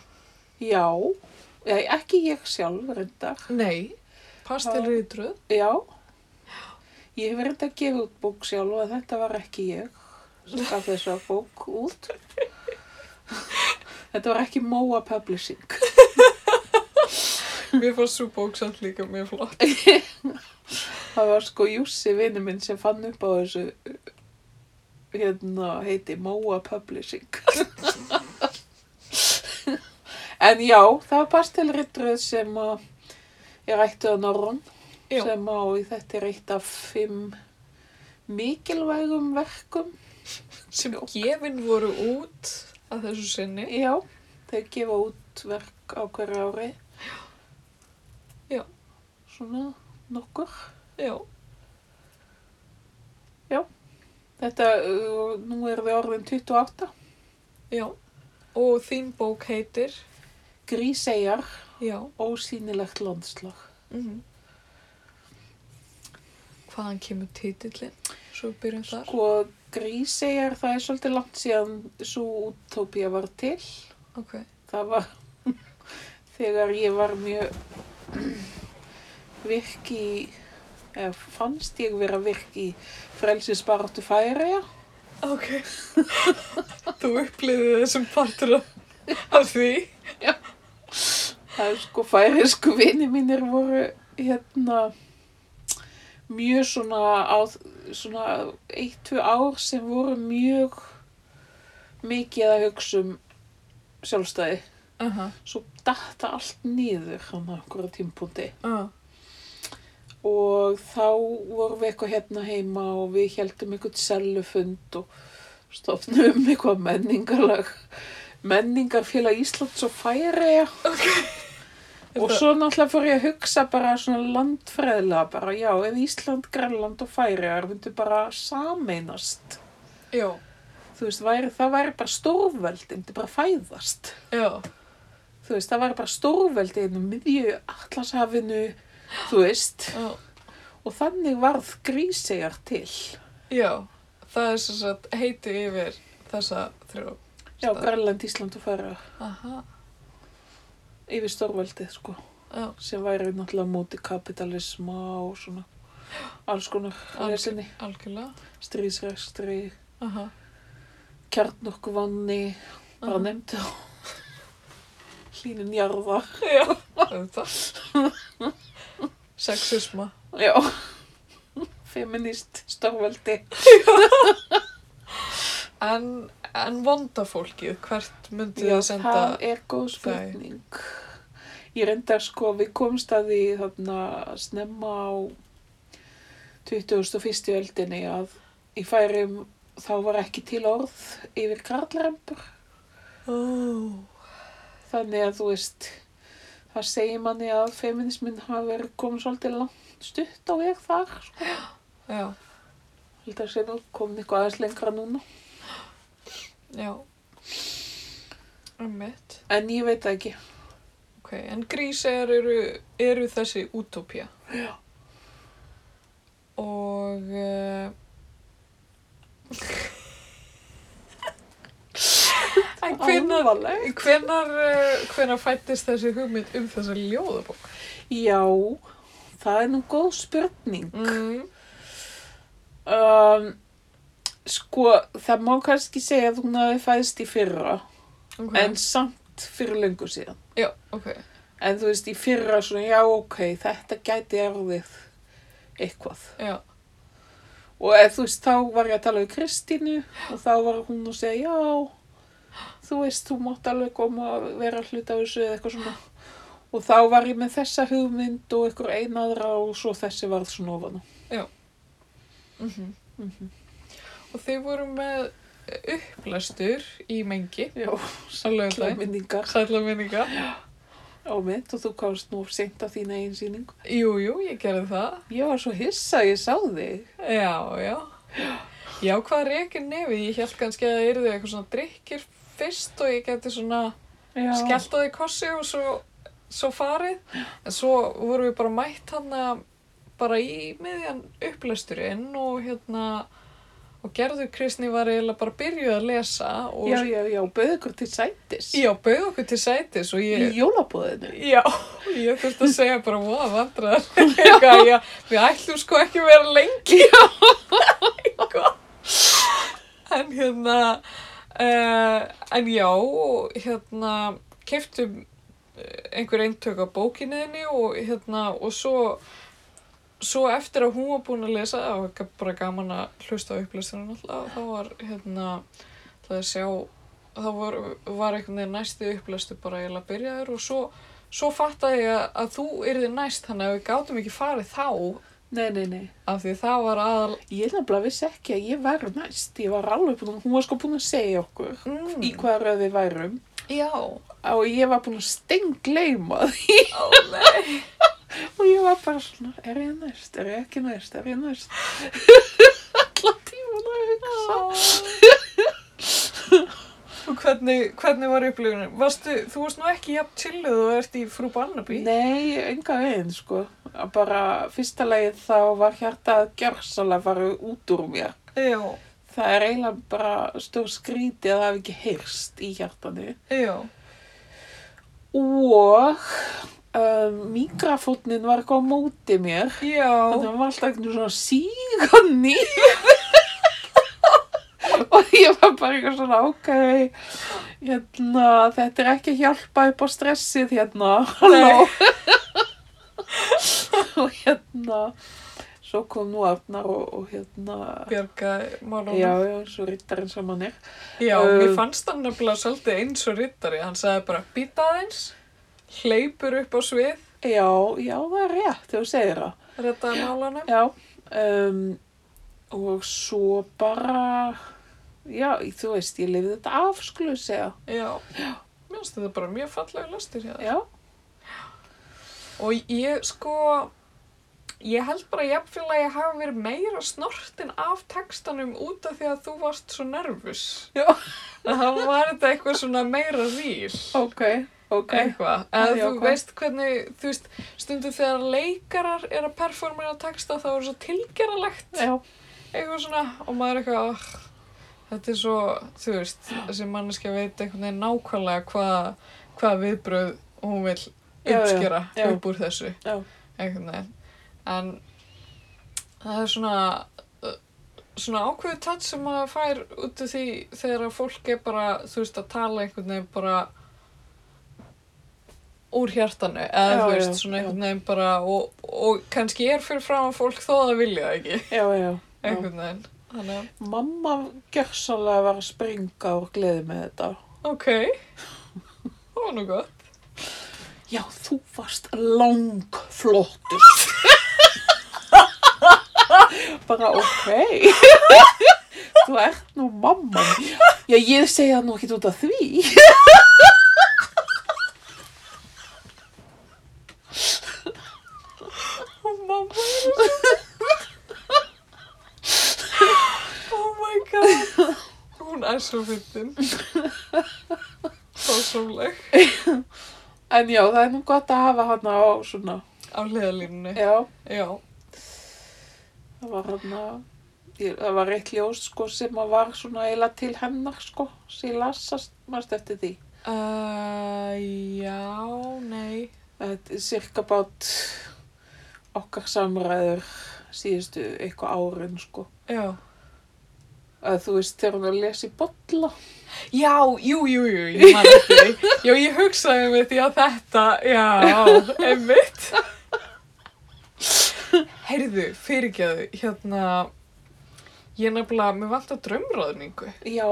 S2: Já, já ekki ég sjálf reyndar.
S1: nei, pastelri í tröð
S2: Já, ég hef reyndar að gefa út bók sjálf og þetta var ekki ég sem gaf þessa bók út. Þetta var ekki Móa Publishing.
S1: mér fannst svo bók samt líka mjög flott
S2: Það var sko Jussi vinnu minn sem fann upp á þessu uh, hérna heiti Móa Publishing. en já, það var pastelrittröð sem að ég rættu að Norrun
S1: Já.
S2: sem á í þetta er eitt af fimm mikilvægum verkum.
S1: sem gefin voru út að þessu sinni
S2: Já, þau gefa út verk á hverju ári.
S1: Já.
S2: Svona nokkur.
S1: já,
S2: Þetta, uh, nú er þau orðin 28.
S1: já og þín bók heitir
S2: Gríseyjar,
S1: já
S2: ósýnilegt landslag.
S1: mm hvaðan kemur titillin svo við byrjum þar
S2: Sko, Gríseyjar, það er svolítið langt síðan svo útópía var til.
S1: ok,
S2: Það var þegar ég var mjög virk í, eða fannst ég vera virk í frelsinsbaráttu færiða.
S1: ok þú upplifið þessum partur af- af því
S2: Það er sko færiðsku vini mínir voru hérna mjög svona á svona eitt, tvö ár sem voru mjög mikið að hugsa um sjálfstæði.
S1: Aha,
S2: Svo datta allt nýður hann að okkur á tímpúndi
S1: uh,
S2: og þá vorum við eitthvað hérna heima og við heldum eitthvað sellufund og stofnum eitthvað menningarlag menningarfélag Íslands og Færiða og
S1: Er það-
S2: svo náttúrulega fór ég að hugsa bara svona landfræðilega bara já, ef Ísland, Grænland og Færiðar myndu bara sameinast
S1: já,
S2: þú veist, væri, það væri bara stórveldi myndi bara fæðast
S1: já,
S2: þú veist, það væri bara stórveldi inn um miðju Atlashafinu þú veist,
S1: já,
S2: og þannig varð grísegjar til
S1: já, það er sem sagt heiti yfir þessa þrjó.
S2: Já,
S1: Stað.
S2: Grænland, Ísland og Færeyjar
S1: Aha,
S2: yfir stórveldið sko
S1: já,
S2: sem væri náttúrulega á móti kapitalisma og svona alls konar
S1: Alls-
S2: lesinni,
S1: algjörlega,
S2: stríðsrekstri
S1: aha,
S2: kjarnorkuvanni bara
S1: Aha.
S2: nefndi á hlínun jarðar
S1: já, auðvitað. Sexisma,
S2: já feminist stórveldi
S1: en, en vondafólkið, hvert myndi
S2: Já,
S1: þið senda?
S2: það er góð spurning ég reyndar sko við komst að því þarna snemma á 2001. öldinni að í færum þá var ekki til orð yfir karlrempur
S1: Ó,
S2: þannig að þú veist það segir manni að feminismin hafi verið komin svolítið langt stutt á veg þar sko.
S1: já,
S2: held að sé nú komin eitthvað aðeins lengra núna
S1: já, ummitt.
S2: en ég veit það ekki
S1: Ok, en grísar eru, eru þessi útópía.
S2: Já.
S1: Og... Uh, en hvenar,
S2: Alvarlegt.
S1: hvenar, uh, hvenar fættist þessi hugmynd um þessa ljóðabók?
S2: já, það er nú góð spurning
S1: Mm.
S2: um, sko það má kannski segja að hún hafi fæðst í fyrra
S1: Ok,
S2: en samt fyrir lengur síðan
S1: já, ok,
S2: en þú veist í fyrra svona já ok þetta gæti erfið eitthvað
S1: já,
S2: og eð, þú veist, þá var ég að tala við Kristínu og þá var hún að segja já, þú veist, þú mátt alveg koma að vera hluta af þessu eða eitthvað svona og þá var ég með þessa hugmynd og einhver einaðra og svo þessi varð svona ofan á.
S1: Mhm, Og þið voru með upplestur í mengi
S2: Já,
S1: á lögðaði.
S2: hlæminningar
S1: Sætla minninga.
S2: á mitt og þú komst nú seint að þína einn sýningu.
S1: Jú, jú, ég gerði það.
S2: Ég var svo hissa að ég sá þig.
S1: Já, já. Já, hvað reykir nefið? Ég held kannski að það yrði eitthvað svona drikkir fyrst og ég geti svona
S2: Já.
S1: skellt á því kossi og svo, svo farið. En svo vorum við bara mætt hann bara í miðjan upplesturinn og hérna og Gerður Kristni var eiginlega bara byrjuð að lesa og
S2: Já, já, já, bauð ykkur til sætis.
S1: já bauð okkur til sætis og ég
S2: Í jólabóðinu.
S1: Já, ég þurfti að segja bara voða vandrar eitthvað, já, við ætlum sko ekki að vera lengi já en hérna uh, en já og hérna keftum einhver eintök af bókinniðinni og hérna og svo svo eftir að hún var búin að lesa það var bara gaman að hlusta á upplýstunum alltaf þá var hérna það að sjá þá var, var einhvern veginn næsti upplæstu bara eiginlega byrjaður og svo, svo fattaði ég að, að þú yrði næst þannig að við gátum ekki farið þá
S2: Nei, nei, nei.
S1: af því það var aðal
S2: Ég nefnilega vissi ekki að ég var næst. Ég var alveg búin að, hún var sko búin að segja okkur
S1: mm,
S2: í hvaða röð við værum.
S1: Já,
S2: Og ég var búin að stengleima því.
S1: ó nei
S2: Og ég var bara svona, er ég næst, er ég ekki næst, er ég næst. Alla tíman að hugsa.
S1: Og hvernig, hvernig var upplifunin? Varstu, þú varst nú ekki jafn chilluð og ert í frú Barnaby
S2: Nei, enga veginn, sko. Að Bara fyrsta lagið þá var hjartað gjörsalega farið út úr mér.
S1: Já,
S2: Það er eiginlega bara stór skrítið að það hafi ekki heyrst í hjartanu.
S1: já,
S2: Og um, mikrafótnin var eitthvað á móti mér. Þannig að
S1: já
S2: hann var alltaf einhvern svona sígandi. og ég var bara eitthvað svona, ok, hérna, þetta er ekki að hjálpa upp á stressið hérna, halló. og hérna, svo kom nú Arnar og, og hérna,
S1: Bjarga málunum
S2: já, já, svo rittarinn sem hann er.
S1: Já, mér
S2: Um,
S1: fannst hann nefnilega svolítið eins og rittari. Hann sagði bara, býta aðeins, hleypur upp á svið,
S2: Já, já, það er rétt þegar þú segir það.
S1: rettaði málanum.
S2: Já, um, og svo bara, já, þú veist, ég lifði þetta af, skulum við segja.
S1: Já, mér finnst þetta bara mjög fallega lastir hér.
S2: Já,
S1: Og ég, sko, ég held bara jafnvel að ég hafi verið meira snortin af textanum út af því að þú varst svo nervus.
S2: Já.
S1: Þá var þetta eitthvað svona meira ríl.
S2: ok, ok.
S1: Eitthvað.
S2: Það
S1: En
S2: er
S1: þú
S2: jákvætt.
S1: veist hvernig, þú veist, stundum þegar leikarar er að performera texta þá er það svo tilgeralegt.
S2: Já,
S1: eitthvað svona og maður er eitthvað "Ah, þetta er svo, þú veist, þessi manneskja veit einhvern veginn nákvæmlega hvað hvað viðbröð hún vil
S2: Já, já,
S1: uppskera
S2: já.
S1: upp úr þessu
S2: Já.
S1: einhvern veginn en það er svona uh, svona ákveðu tatt sem maður fær út af því þegar að fólk er bara, þú veist, að tala einhvern veginn bara úr hjartanu eða
S2: Já,
S1: þú
S2: já,
S1: veist, svona
S2: já.
S1: einhvern veginn bara og, og kannski er fyrir fram fólk þó að það vilja það ekki
S2: já, já. já.
S1: einhvern veginn þannig að,
S2: Mamma gjörsalega var að springa og gleði með þetta.
S1: ok það var nú gott
S2: Já, þú varst langflottur. Bara ok. þú ert nú mamma. mín. Já, ég segi það nú ekkert út af því.
S1: og mamma er svo oh my god hún er svo fyndin fórsóleg
S2: En já, það er nú gott að hafa hana á svona,
S1: á hliðalínunni
S2: já,
S1: já,
S2: það var hana, ég, það var eitt ljós sko sem að var svona eiginlega til hennar sko, sem ég lasast, maður eftir því.
S1: uh, já, nei
S2: Þetta er cirka bát okkar samræður síðustu eitthvað árin sko.
S1: já,
S2: Að þú veist, þegar hún er að lesa í bolla.
S1: já, jú, jú, jú ég man ekki, því. já, ég hugsaði með því að þetta, já, einmitt heyrðu, fyrirgjöðu hérna Ég nefnilega, mér vant að draumræðningu.
S2: Já,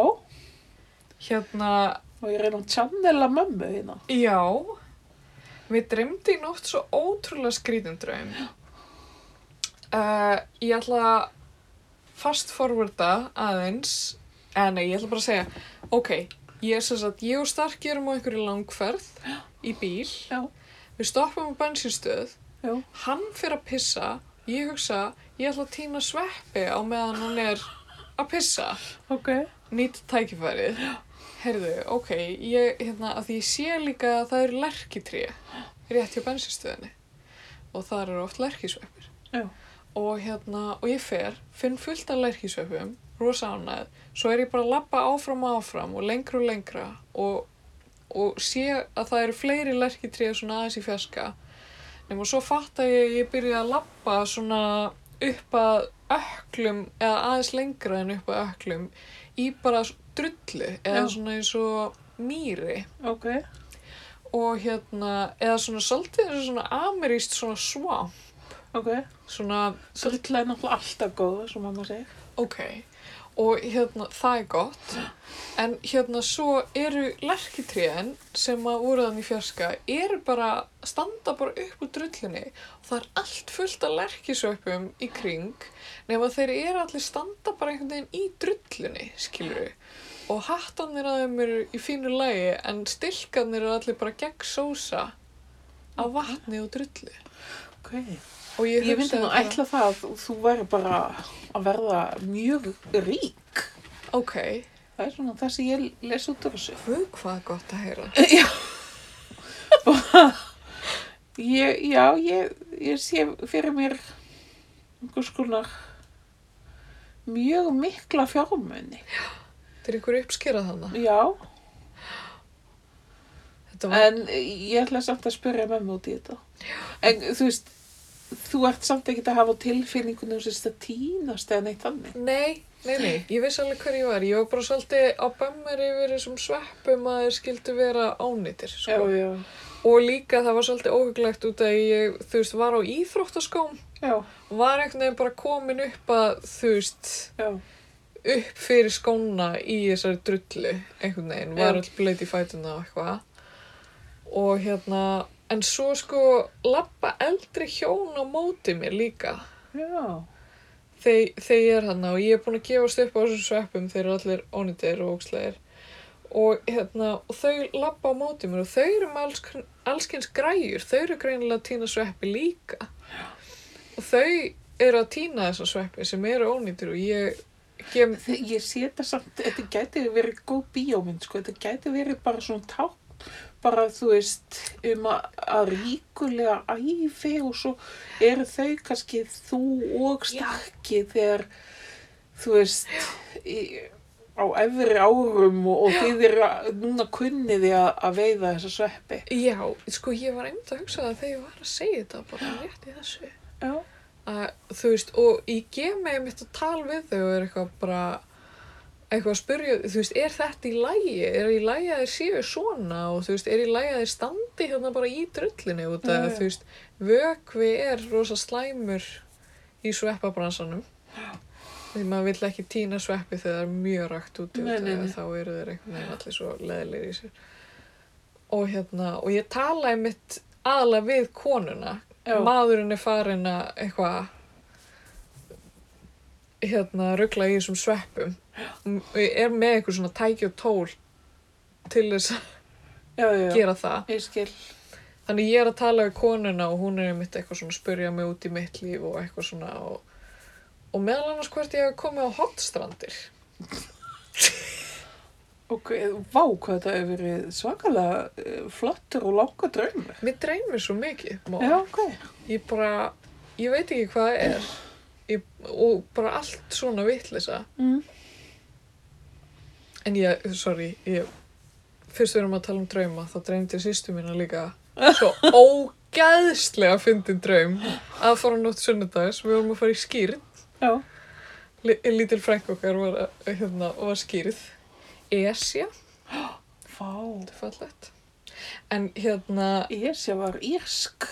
S1: Hérna,
S2: og ég reyna að channela mömmu hérna.
S1: já, mér dreymdi í nótt svo ótrúlega skrítum draum. Uh, ég ætla að fast forwarda aðeins, en nei, ég ætla bara að segja, ok, ég er sem sagt, ég og Starki erum á einhverju langferð í bíl,
S2: Já,
S1: við stoppum á bensinstöð,
S2: já,
S1: hann fyrir að pissa, ég hugsa, ég ætla að týna sveppi á meðan hann er að pissa.
S2: ok.
S1: nýtt tækifærið heyrðu, ok, ég, hérna, að því ég sé líka að það eru lerkitré rétt hjá bensinstöðinni og þar eru oft lerkisveppir
S2: Já.
S1: og hérna, og ég fer finn fullt af lerkisveppum, rosa ánæð svo er ég bara að labba áfram og áfram og lengra og lengra og, og sé að það eru fleiri lerkitré svona aðeins í fjarska nema svo fatta ég að ég byrja að labba svona upp að öklum eða aðeins lengra en upp að öklum í bara drullu eða
S2: Já.
S1: svona eins og mýri
S2: Ok,
S1: og hérna eða svona svolítið eins og svona ameríst svona svá
S2: ok.
S1: svona
S2: Drulla er náttúrulega alltaf góð, sem mamma segir.
S1: ok og hérna það er gott en hérna svo eru lerkitriðin sem að voru þannig fjarska eru bara standa bara upp úr drullunni og það er allt fullt af lerkisöpum í kring nema þeir eru allir standa bara einhvern veginn í drullunni skilur og hattanir að þeim eru í fínu lagi en stilkanir eru allir bara gegn sósa á vatni og drullu
S2: Ok.
S1: og ég,
S2: Ég myndi
S1: hugsaði
S2: nú
S1: bara,
S2: ætla það að þú væri bara að verða mjög rík.
S1: ok,
S2: Það er svona það sem ég les út úr þessu.
S1: hvað hvað er gott að heyra
S2: Ég, já, ég, ég sé fyrir mér einhvers konar mjög mikla fjármunni.
S1: Þetta er ykkur uppskera þannig.
S2: Já,
S1: Þetta var,
S2: en ég ætla samt að spyrja mömmu út í þetta. En þú veist, þú ert samt ekki að hafa á tilfinningunum sem þetta týnast eða neitt þannig.
S1: nei, nei, nei, ég vissi alveg hver ég var. Ég var bara svolítið á bömmar yfir þessum sveppum að þeir skildu vera ánýtir, sko.
S2: Já, já,
S1: Og líka það var svolítið óhuglegt út að ég, þú veist, var á íþróttaskóm,
S2: já,
S1: var einhvern veginn bara komin upp að, þú veist,
S2: já,
S1: upp fyrir skóna í þessari drullu, einhvern veginn,
S2: Já.
S1: var all blöyt í fætuna og eitthvað. Og hérna, en svo sko, lappa eldri hjón á móti mér líka.
S2: já,
S1: þegar þegar ég er hann og ég er búin að gefast upp á þessum sveppum þeir eru allir ónýttir og ókslegir og, hérna, og þau lappa á móti mér og þau eru með alls, allskins græjur þau eru greinilega að týna sveppi líka og þau eru að týna þessar sveppi sem eru ónýttir og ég gem,
S2: Þe- Ég sé þetta samt, þetta gæti verið góð bíómynd, sko, þetta gæti verið bara svona tákn, bara þú veist, um að, að ríkulega æfi og svo eru þau kannski þú og stakki þegar, þú veist, í, á efri árum og, og þið eru að- núna kunniði að, að veiða þessa sveppi.
S1: já, sko ég var einmitt að hugsa það þegar ég var að segja þetta bara rétt í þessu
S2: Já,
S1: að, þú veist, og ég gef mig mitt að tala við þau og er eitthvað bara eitthvað að spyrja, þú veist, er þetta í lægi? Er í lægi að þeir séu svona og þú veist, er í lægi að þeir standi hérna bara í drullinu út að,
S2: Já, já.
S1: þú veist, vökvi er rosa slæmur í sveppabransanum því maður vill ekki týna sveppi þegar það er mjög rakt út
S2: Nei, nei, nei.
S1: þá eru þeir einhvern veginn allir svo leðilegir í sér og hérna, og ég tala einmitt aðalega við konuna
S2: Já.
S1: maðurinn er farinn að eitthvað hérna ruggla í þessum sveppum og er með eitthvað svona tæki og tól til þess að
S2: já, já, já.
S1: gera það
S2: ég skil.
S1: þannig ég er að tala við konuna og hún er einmitt eitthvað svona að spyrja mig út í mitt líf og eitthvað svona og, og meðal annars hvert ég hef komið á hotstrandir
S2: Ok, vá hvað þetta hefur verið svakalega eh, flottur og langa draumur.
S1: mér dreymir svo mikið Má.
S2: Já, ok.
S1: ég bara, ég veit ekki hvað það er ég, og bara allt svona vitlisa
S2: Mm.
S1: en ég, sorry ég, fyrst við erum að tala um drauma þá dreymdi sýstu mína líka svo ógeðslega fyndin draum að fara á nótt sunnudags við vorum að fara í skýrn
S2: Já,
S1: Li- lítil frænk okkar var, að- hérna, var skýrð Esja,
S2: vá.
S1: þetta er fallegt en hérna,
S2: Esja var írsk.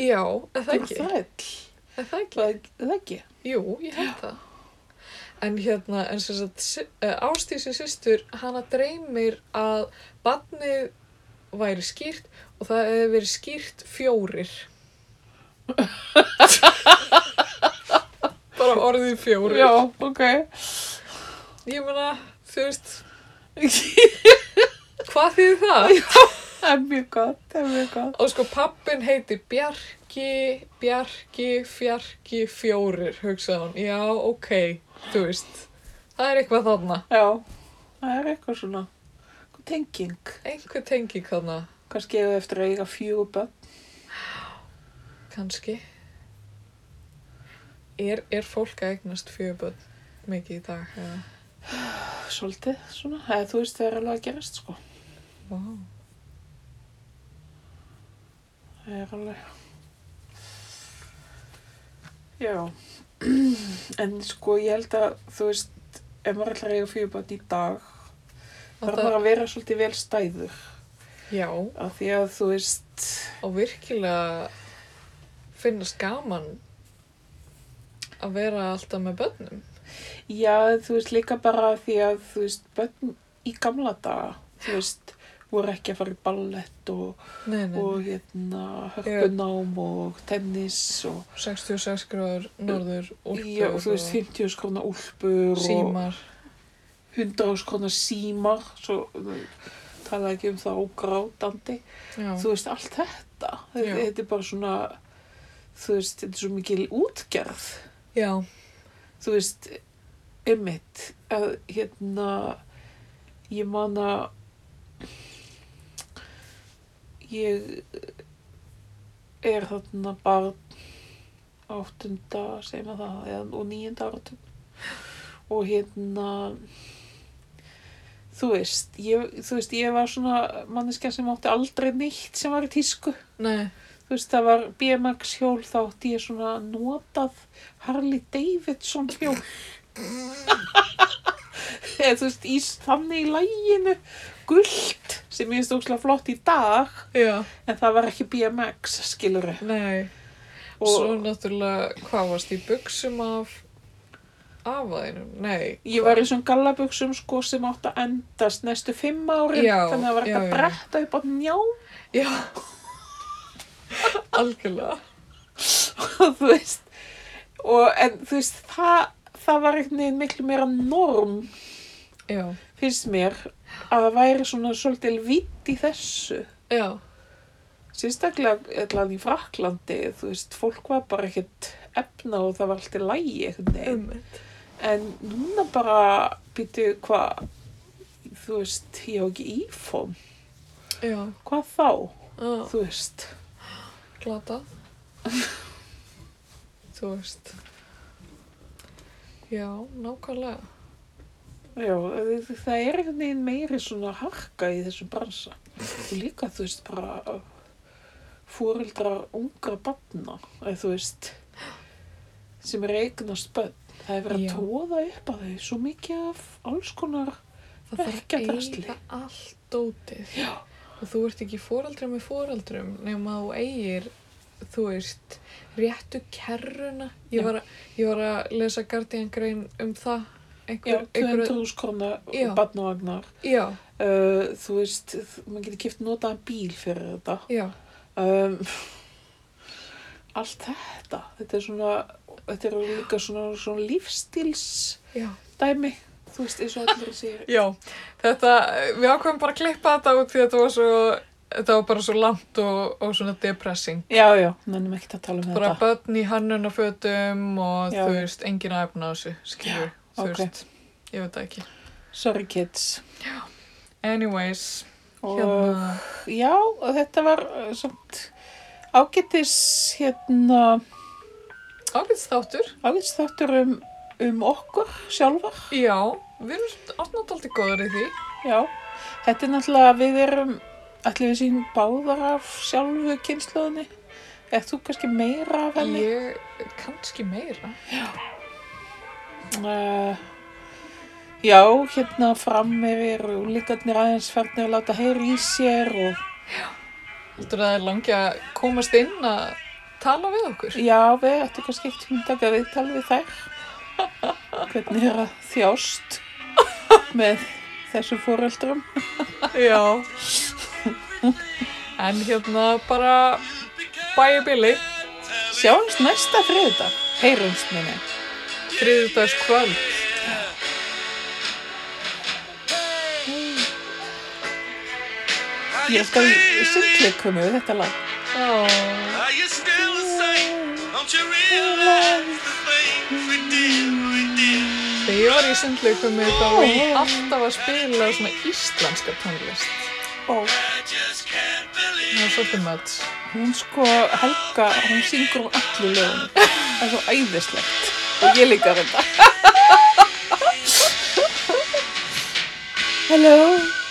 S1: já, er
S2: Það
S1: það
S2: var
S1: ekki
S2: þræll.
S1: er það ekki,
S2: Það, það ekki.
S1: jú, ég held það En hérna, en sem sagt, sy- eh, Ásdísi sýstur, hana dreymir að badnið væri skýrt og það hefði verið skýrt fjórir. Bara orðið fjórir.
S2: Já, ok.
S1: Ég meina, þú veist, hvað þýðir það?
S2: það er mjög gott, það er mjög gott.
S1: Og sko, pappin heitir Bjarki, Bjarki, Fjarki, Fjórir, hugsaði hún. Já, ok, þú veist, það er eitthvað þarna.
S2: Já, það er eitthvað svona einhver tenging.
S1: Einhver tenging þarna,
S2: Kannski hefur eftir að eiga fjögur börn.
S1: kannski. Er, er fólk að eignast fjörböld mikið í dag? Eða?
S2: Svolítið svona. Eða, þú veist það er alveg að gerast sko.
S1: Vá.
S2: Það er alveg. Já. En sko ég held að þú veist ef maður ætlar að eiga fjögur börn í dag
S1: Og
S2: þarf
S1: það,
S2: maður að vera svolítið vel stæður.
S1: já,
S2: Af því að þú veist
S1: og virkilega finnast gaman að vera alltaf með börnum.
S2: Já, þú veist líka bara því að þú veist, börn í gamla daga, þú veist, voru ekki að fara í ballett og,
S1: Nei, nei,
S2: og hérna, hökkunám og tennis og,
S1: 66 gráður, norður, úlpur
S2: já, þú veist, 50 skrona úlpur
S1: símar.
S2: og 100 skrona símar, svo þú- talaði ekki um það og grátandi.
S1: Já,
S2: Þú veist, allt þetta,
S1: Já.
S2: þetta, þetta er bara svona, þú veist, þetta er svo mikil útgerð.
S1: já,
S2: þú veist, einmitt að hérna ég man að ég er þarna barn áttunda, segjum að það eða, og níunda áratun og hérna þú veist, ég, þú veist, ég var svona manneskja sem átti aldrei neitt sem var í tísku
S1: nei,
S2: þú veist, það var BMX hjól þá átti ég svona notað Harley Davidson hjól eða þú veist, í þannig í læginu gullt sem ég veist ókslega flott í dag
S1: já,
S2: en það var ekki BMX, skilur
S1: nei.
S2: og
S1: Svo náttúrulega, hvað varst í buksum af afaðinum? Nei.
S2: ég var í svona gallabuxum sko sem átti að endast næstu fimm árin
S1: Já,
S2: þannig að það var
S1: já,
S2: ekki að
S1: já.
S2: bretta upp á njá
S1: Já. Algjörlega.
S2: og þú veist og en þú veist, það, það var einhvern veginn miklu meira norm
S1: Já,
S2: finnst mér að það væri svona svolítil vitt í þessu.
S1: já,
S2: Sérstaklega allan í Fraklandi, þú veist, fólk var bara ekkert efna og það var allt í lægi einhvern veginn.
S1: ummitt.
S2: En núna bara býtu hvað, þú veist, ég á ekki ífón.
S1: Já,
S2: Hvað þá,
S1: já,
S2: þú veist?
S1: glata. Þú veist. Já, nákvæmlega.
S2: Já, þ- þ- það er einhvern veginn meiri svona harka í þessum bransa. Og líka, þú veist, bara fóreldrar ungra batna, eða þú veist, sem er eignast bönn. Það er verið
S1: Já.
S2: að tóða upp að þau svo mikið af alls konar.
S1: Það þarf
S2: Ekki að
S1: að
S2: drasli.
S1: eiga allt dótið. Já. Og þú ert ekki fóraldri með fóraldrum nema þú eigir, þú veist, réttu kerruna.
S2: Já.
S1: Ég var, að, ég var að lesa Guardian grein um það.
S2: Já,
S1: Einhver, einhver,
S2: 200 skrona
S1: Já.
S2: batnavagnar.
S1: já,
S2: Uh, þú veist, þ- maður getur kipt notaðan bíl fyrir þetta.
S1: já,
S2: um, allt þetta þetta er svona þetta er líka svona, svona lífstíls
S1: já.
S2: dæmi þú veist eins og allir sér
S1: Já, þetta, við ákveðum bara að klippa þetta út því að þetta var svo, þetta var bara svo langt og, og svona depressing.
S2: já já, nennum ekkert að tala um
S1: Bara
S2: þetta
S1: börn í hannunafötum og
S2: Já.
S1: þú veist, engin að efna á þessu, skilur, þú
S2: ok.
S1: veist, ég veit það ekki.
S2: sorry kids
S1: Anyways,
S2: og
S1: hérna,
S2: já, og þetta var uh, samt ágætis hérna
S1: ágætt þáttur,
S2: ágætis þáttur um, um okkur sjálfar
S1: já, við erum alltaf aldrei góðar í því,
S2: já, þetta er náttúrulega við erum allir við séum báðar af sjálfu kynsluðinni eða þú kannski meira af henni
S1: ég kannski meira.
S2: Uh, já, hérna framir eru líkarnir aðeins fernir að láta heyra í sér og
S1: Þú að það er langi að komast inn að tala við okkur.
S2: já, við ættum kannski eitt hundaka viðtal við þær. hvernig er að þjást með þessu fóreldrum.
S1: Já. En hérna bara bæja bíli,
S2: Sjáumst næsta þriðdag. Heyrumst minni.
S1: þriðdags kvöld.
S2: Ég skal sýnklið komu við þetta lag.
S1: Já.
S3: Are you still the same? Don't you realize the things we did, we did?
S1: Þegar ég var í sundleikum með þá var ég
S2: Já.
S1: alltaf að spila svona íslenska tónlist.
S2: Ó,
S3: I just can't
S1: Það
S3: believe.
S1: var svolítið mött.
S2: hún sko, Helga, hún syngur um allir lögunum. Það er svo æðislegt. Og ég líka þetta. Hello.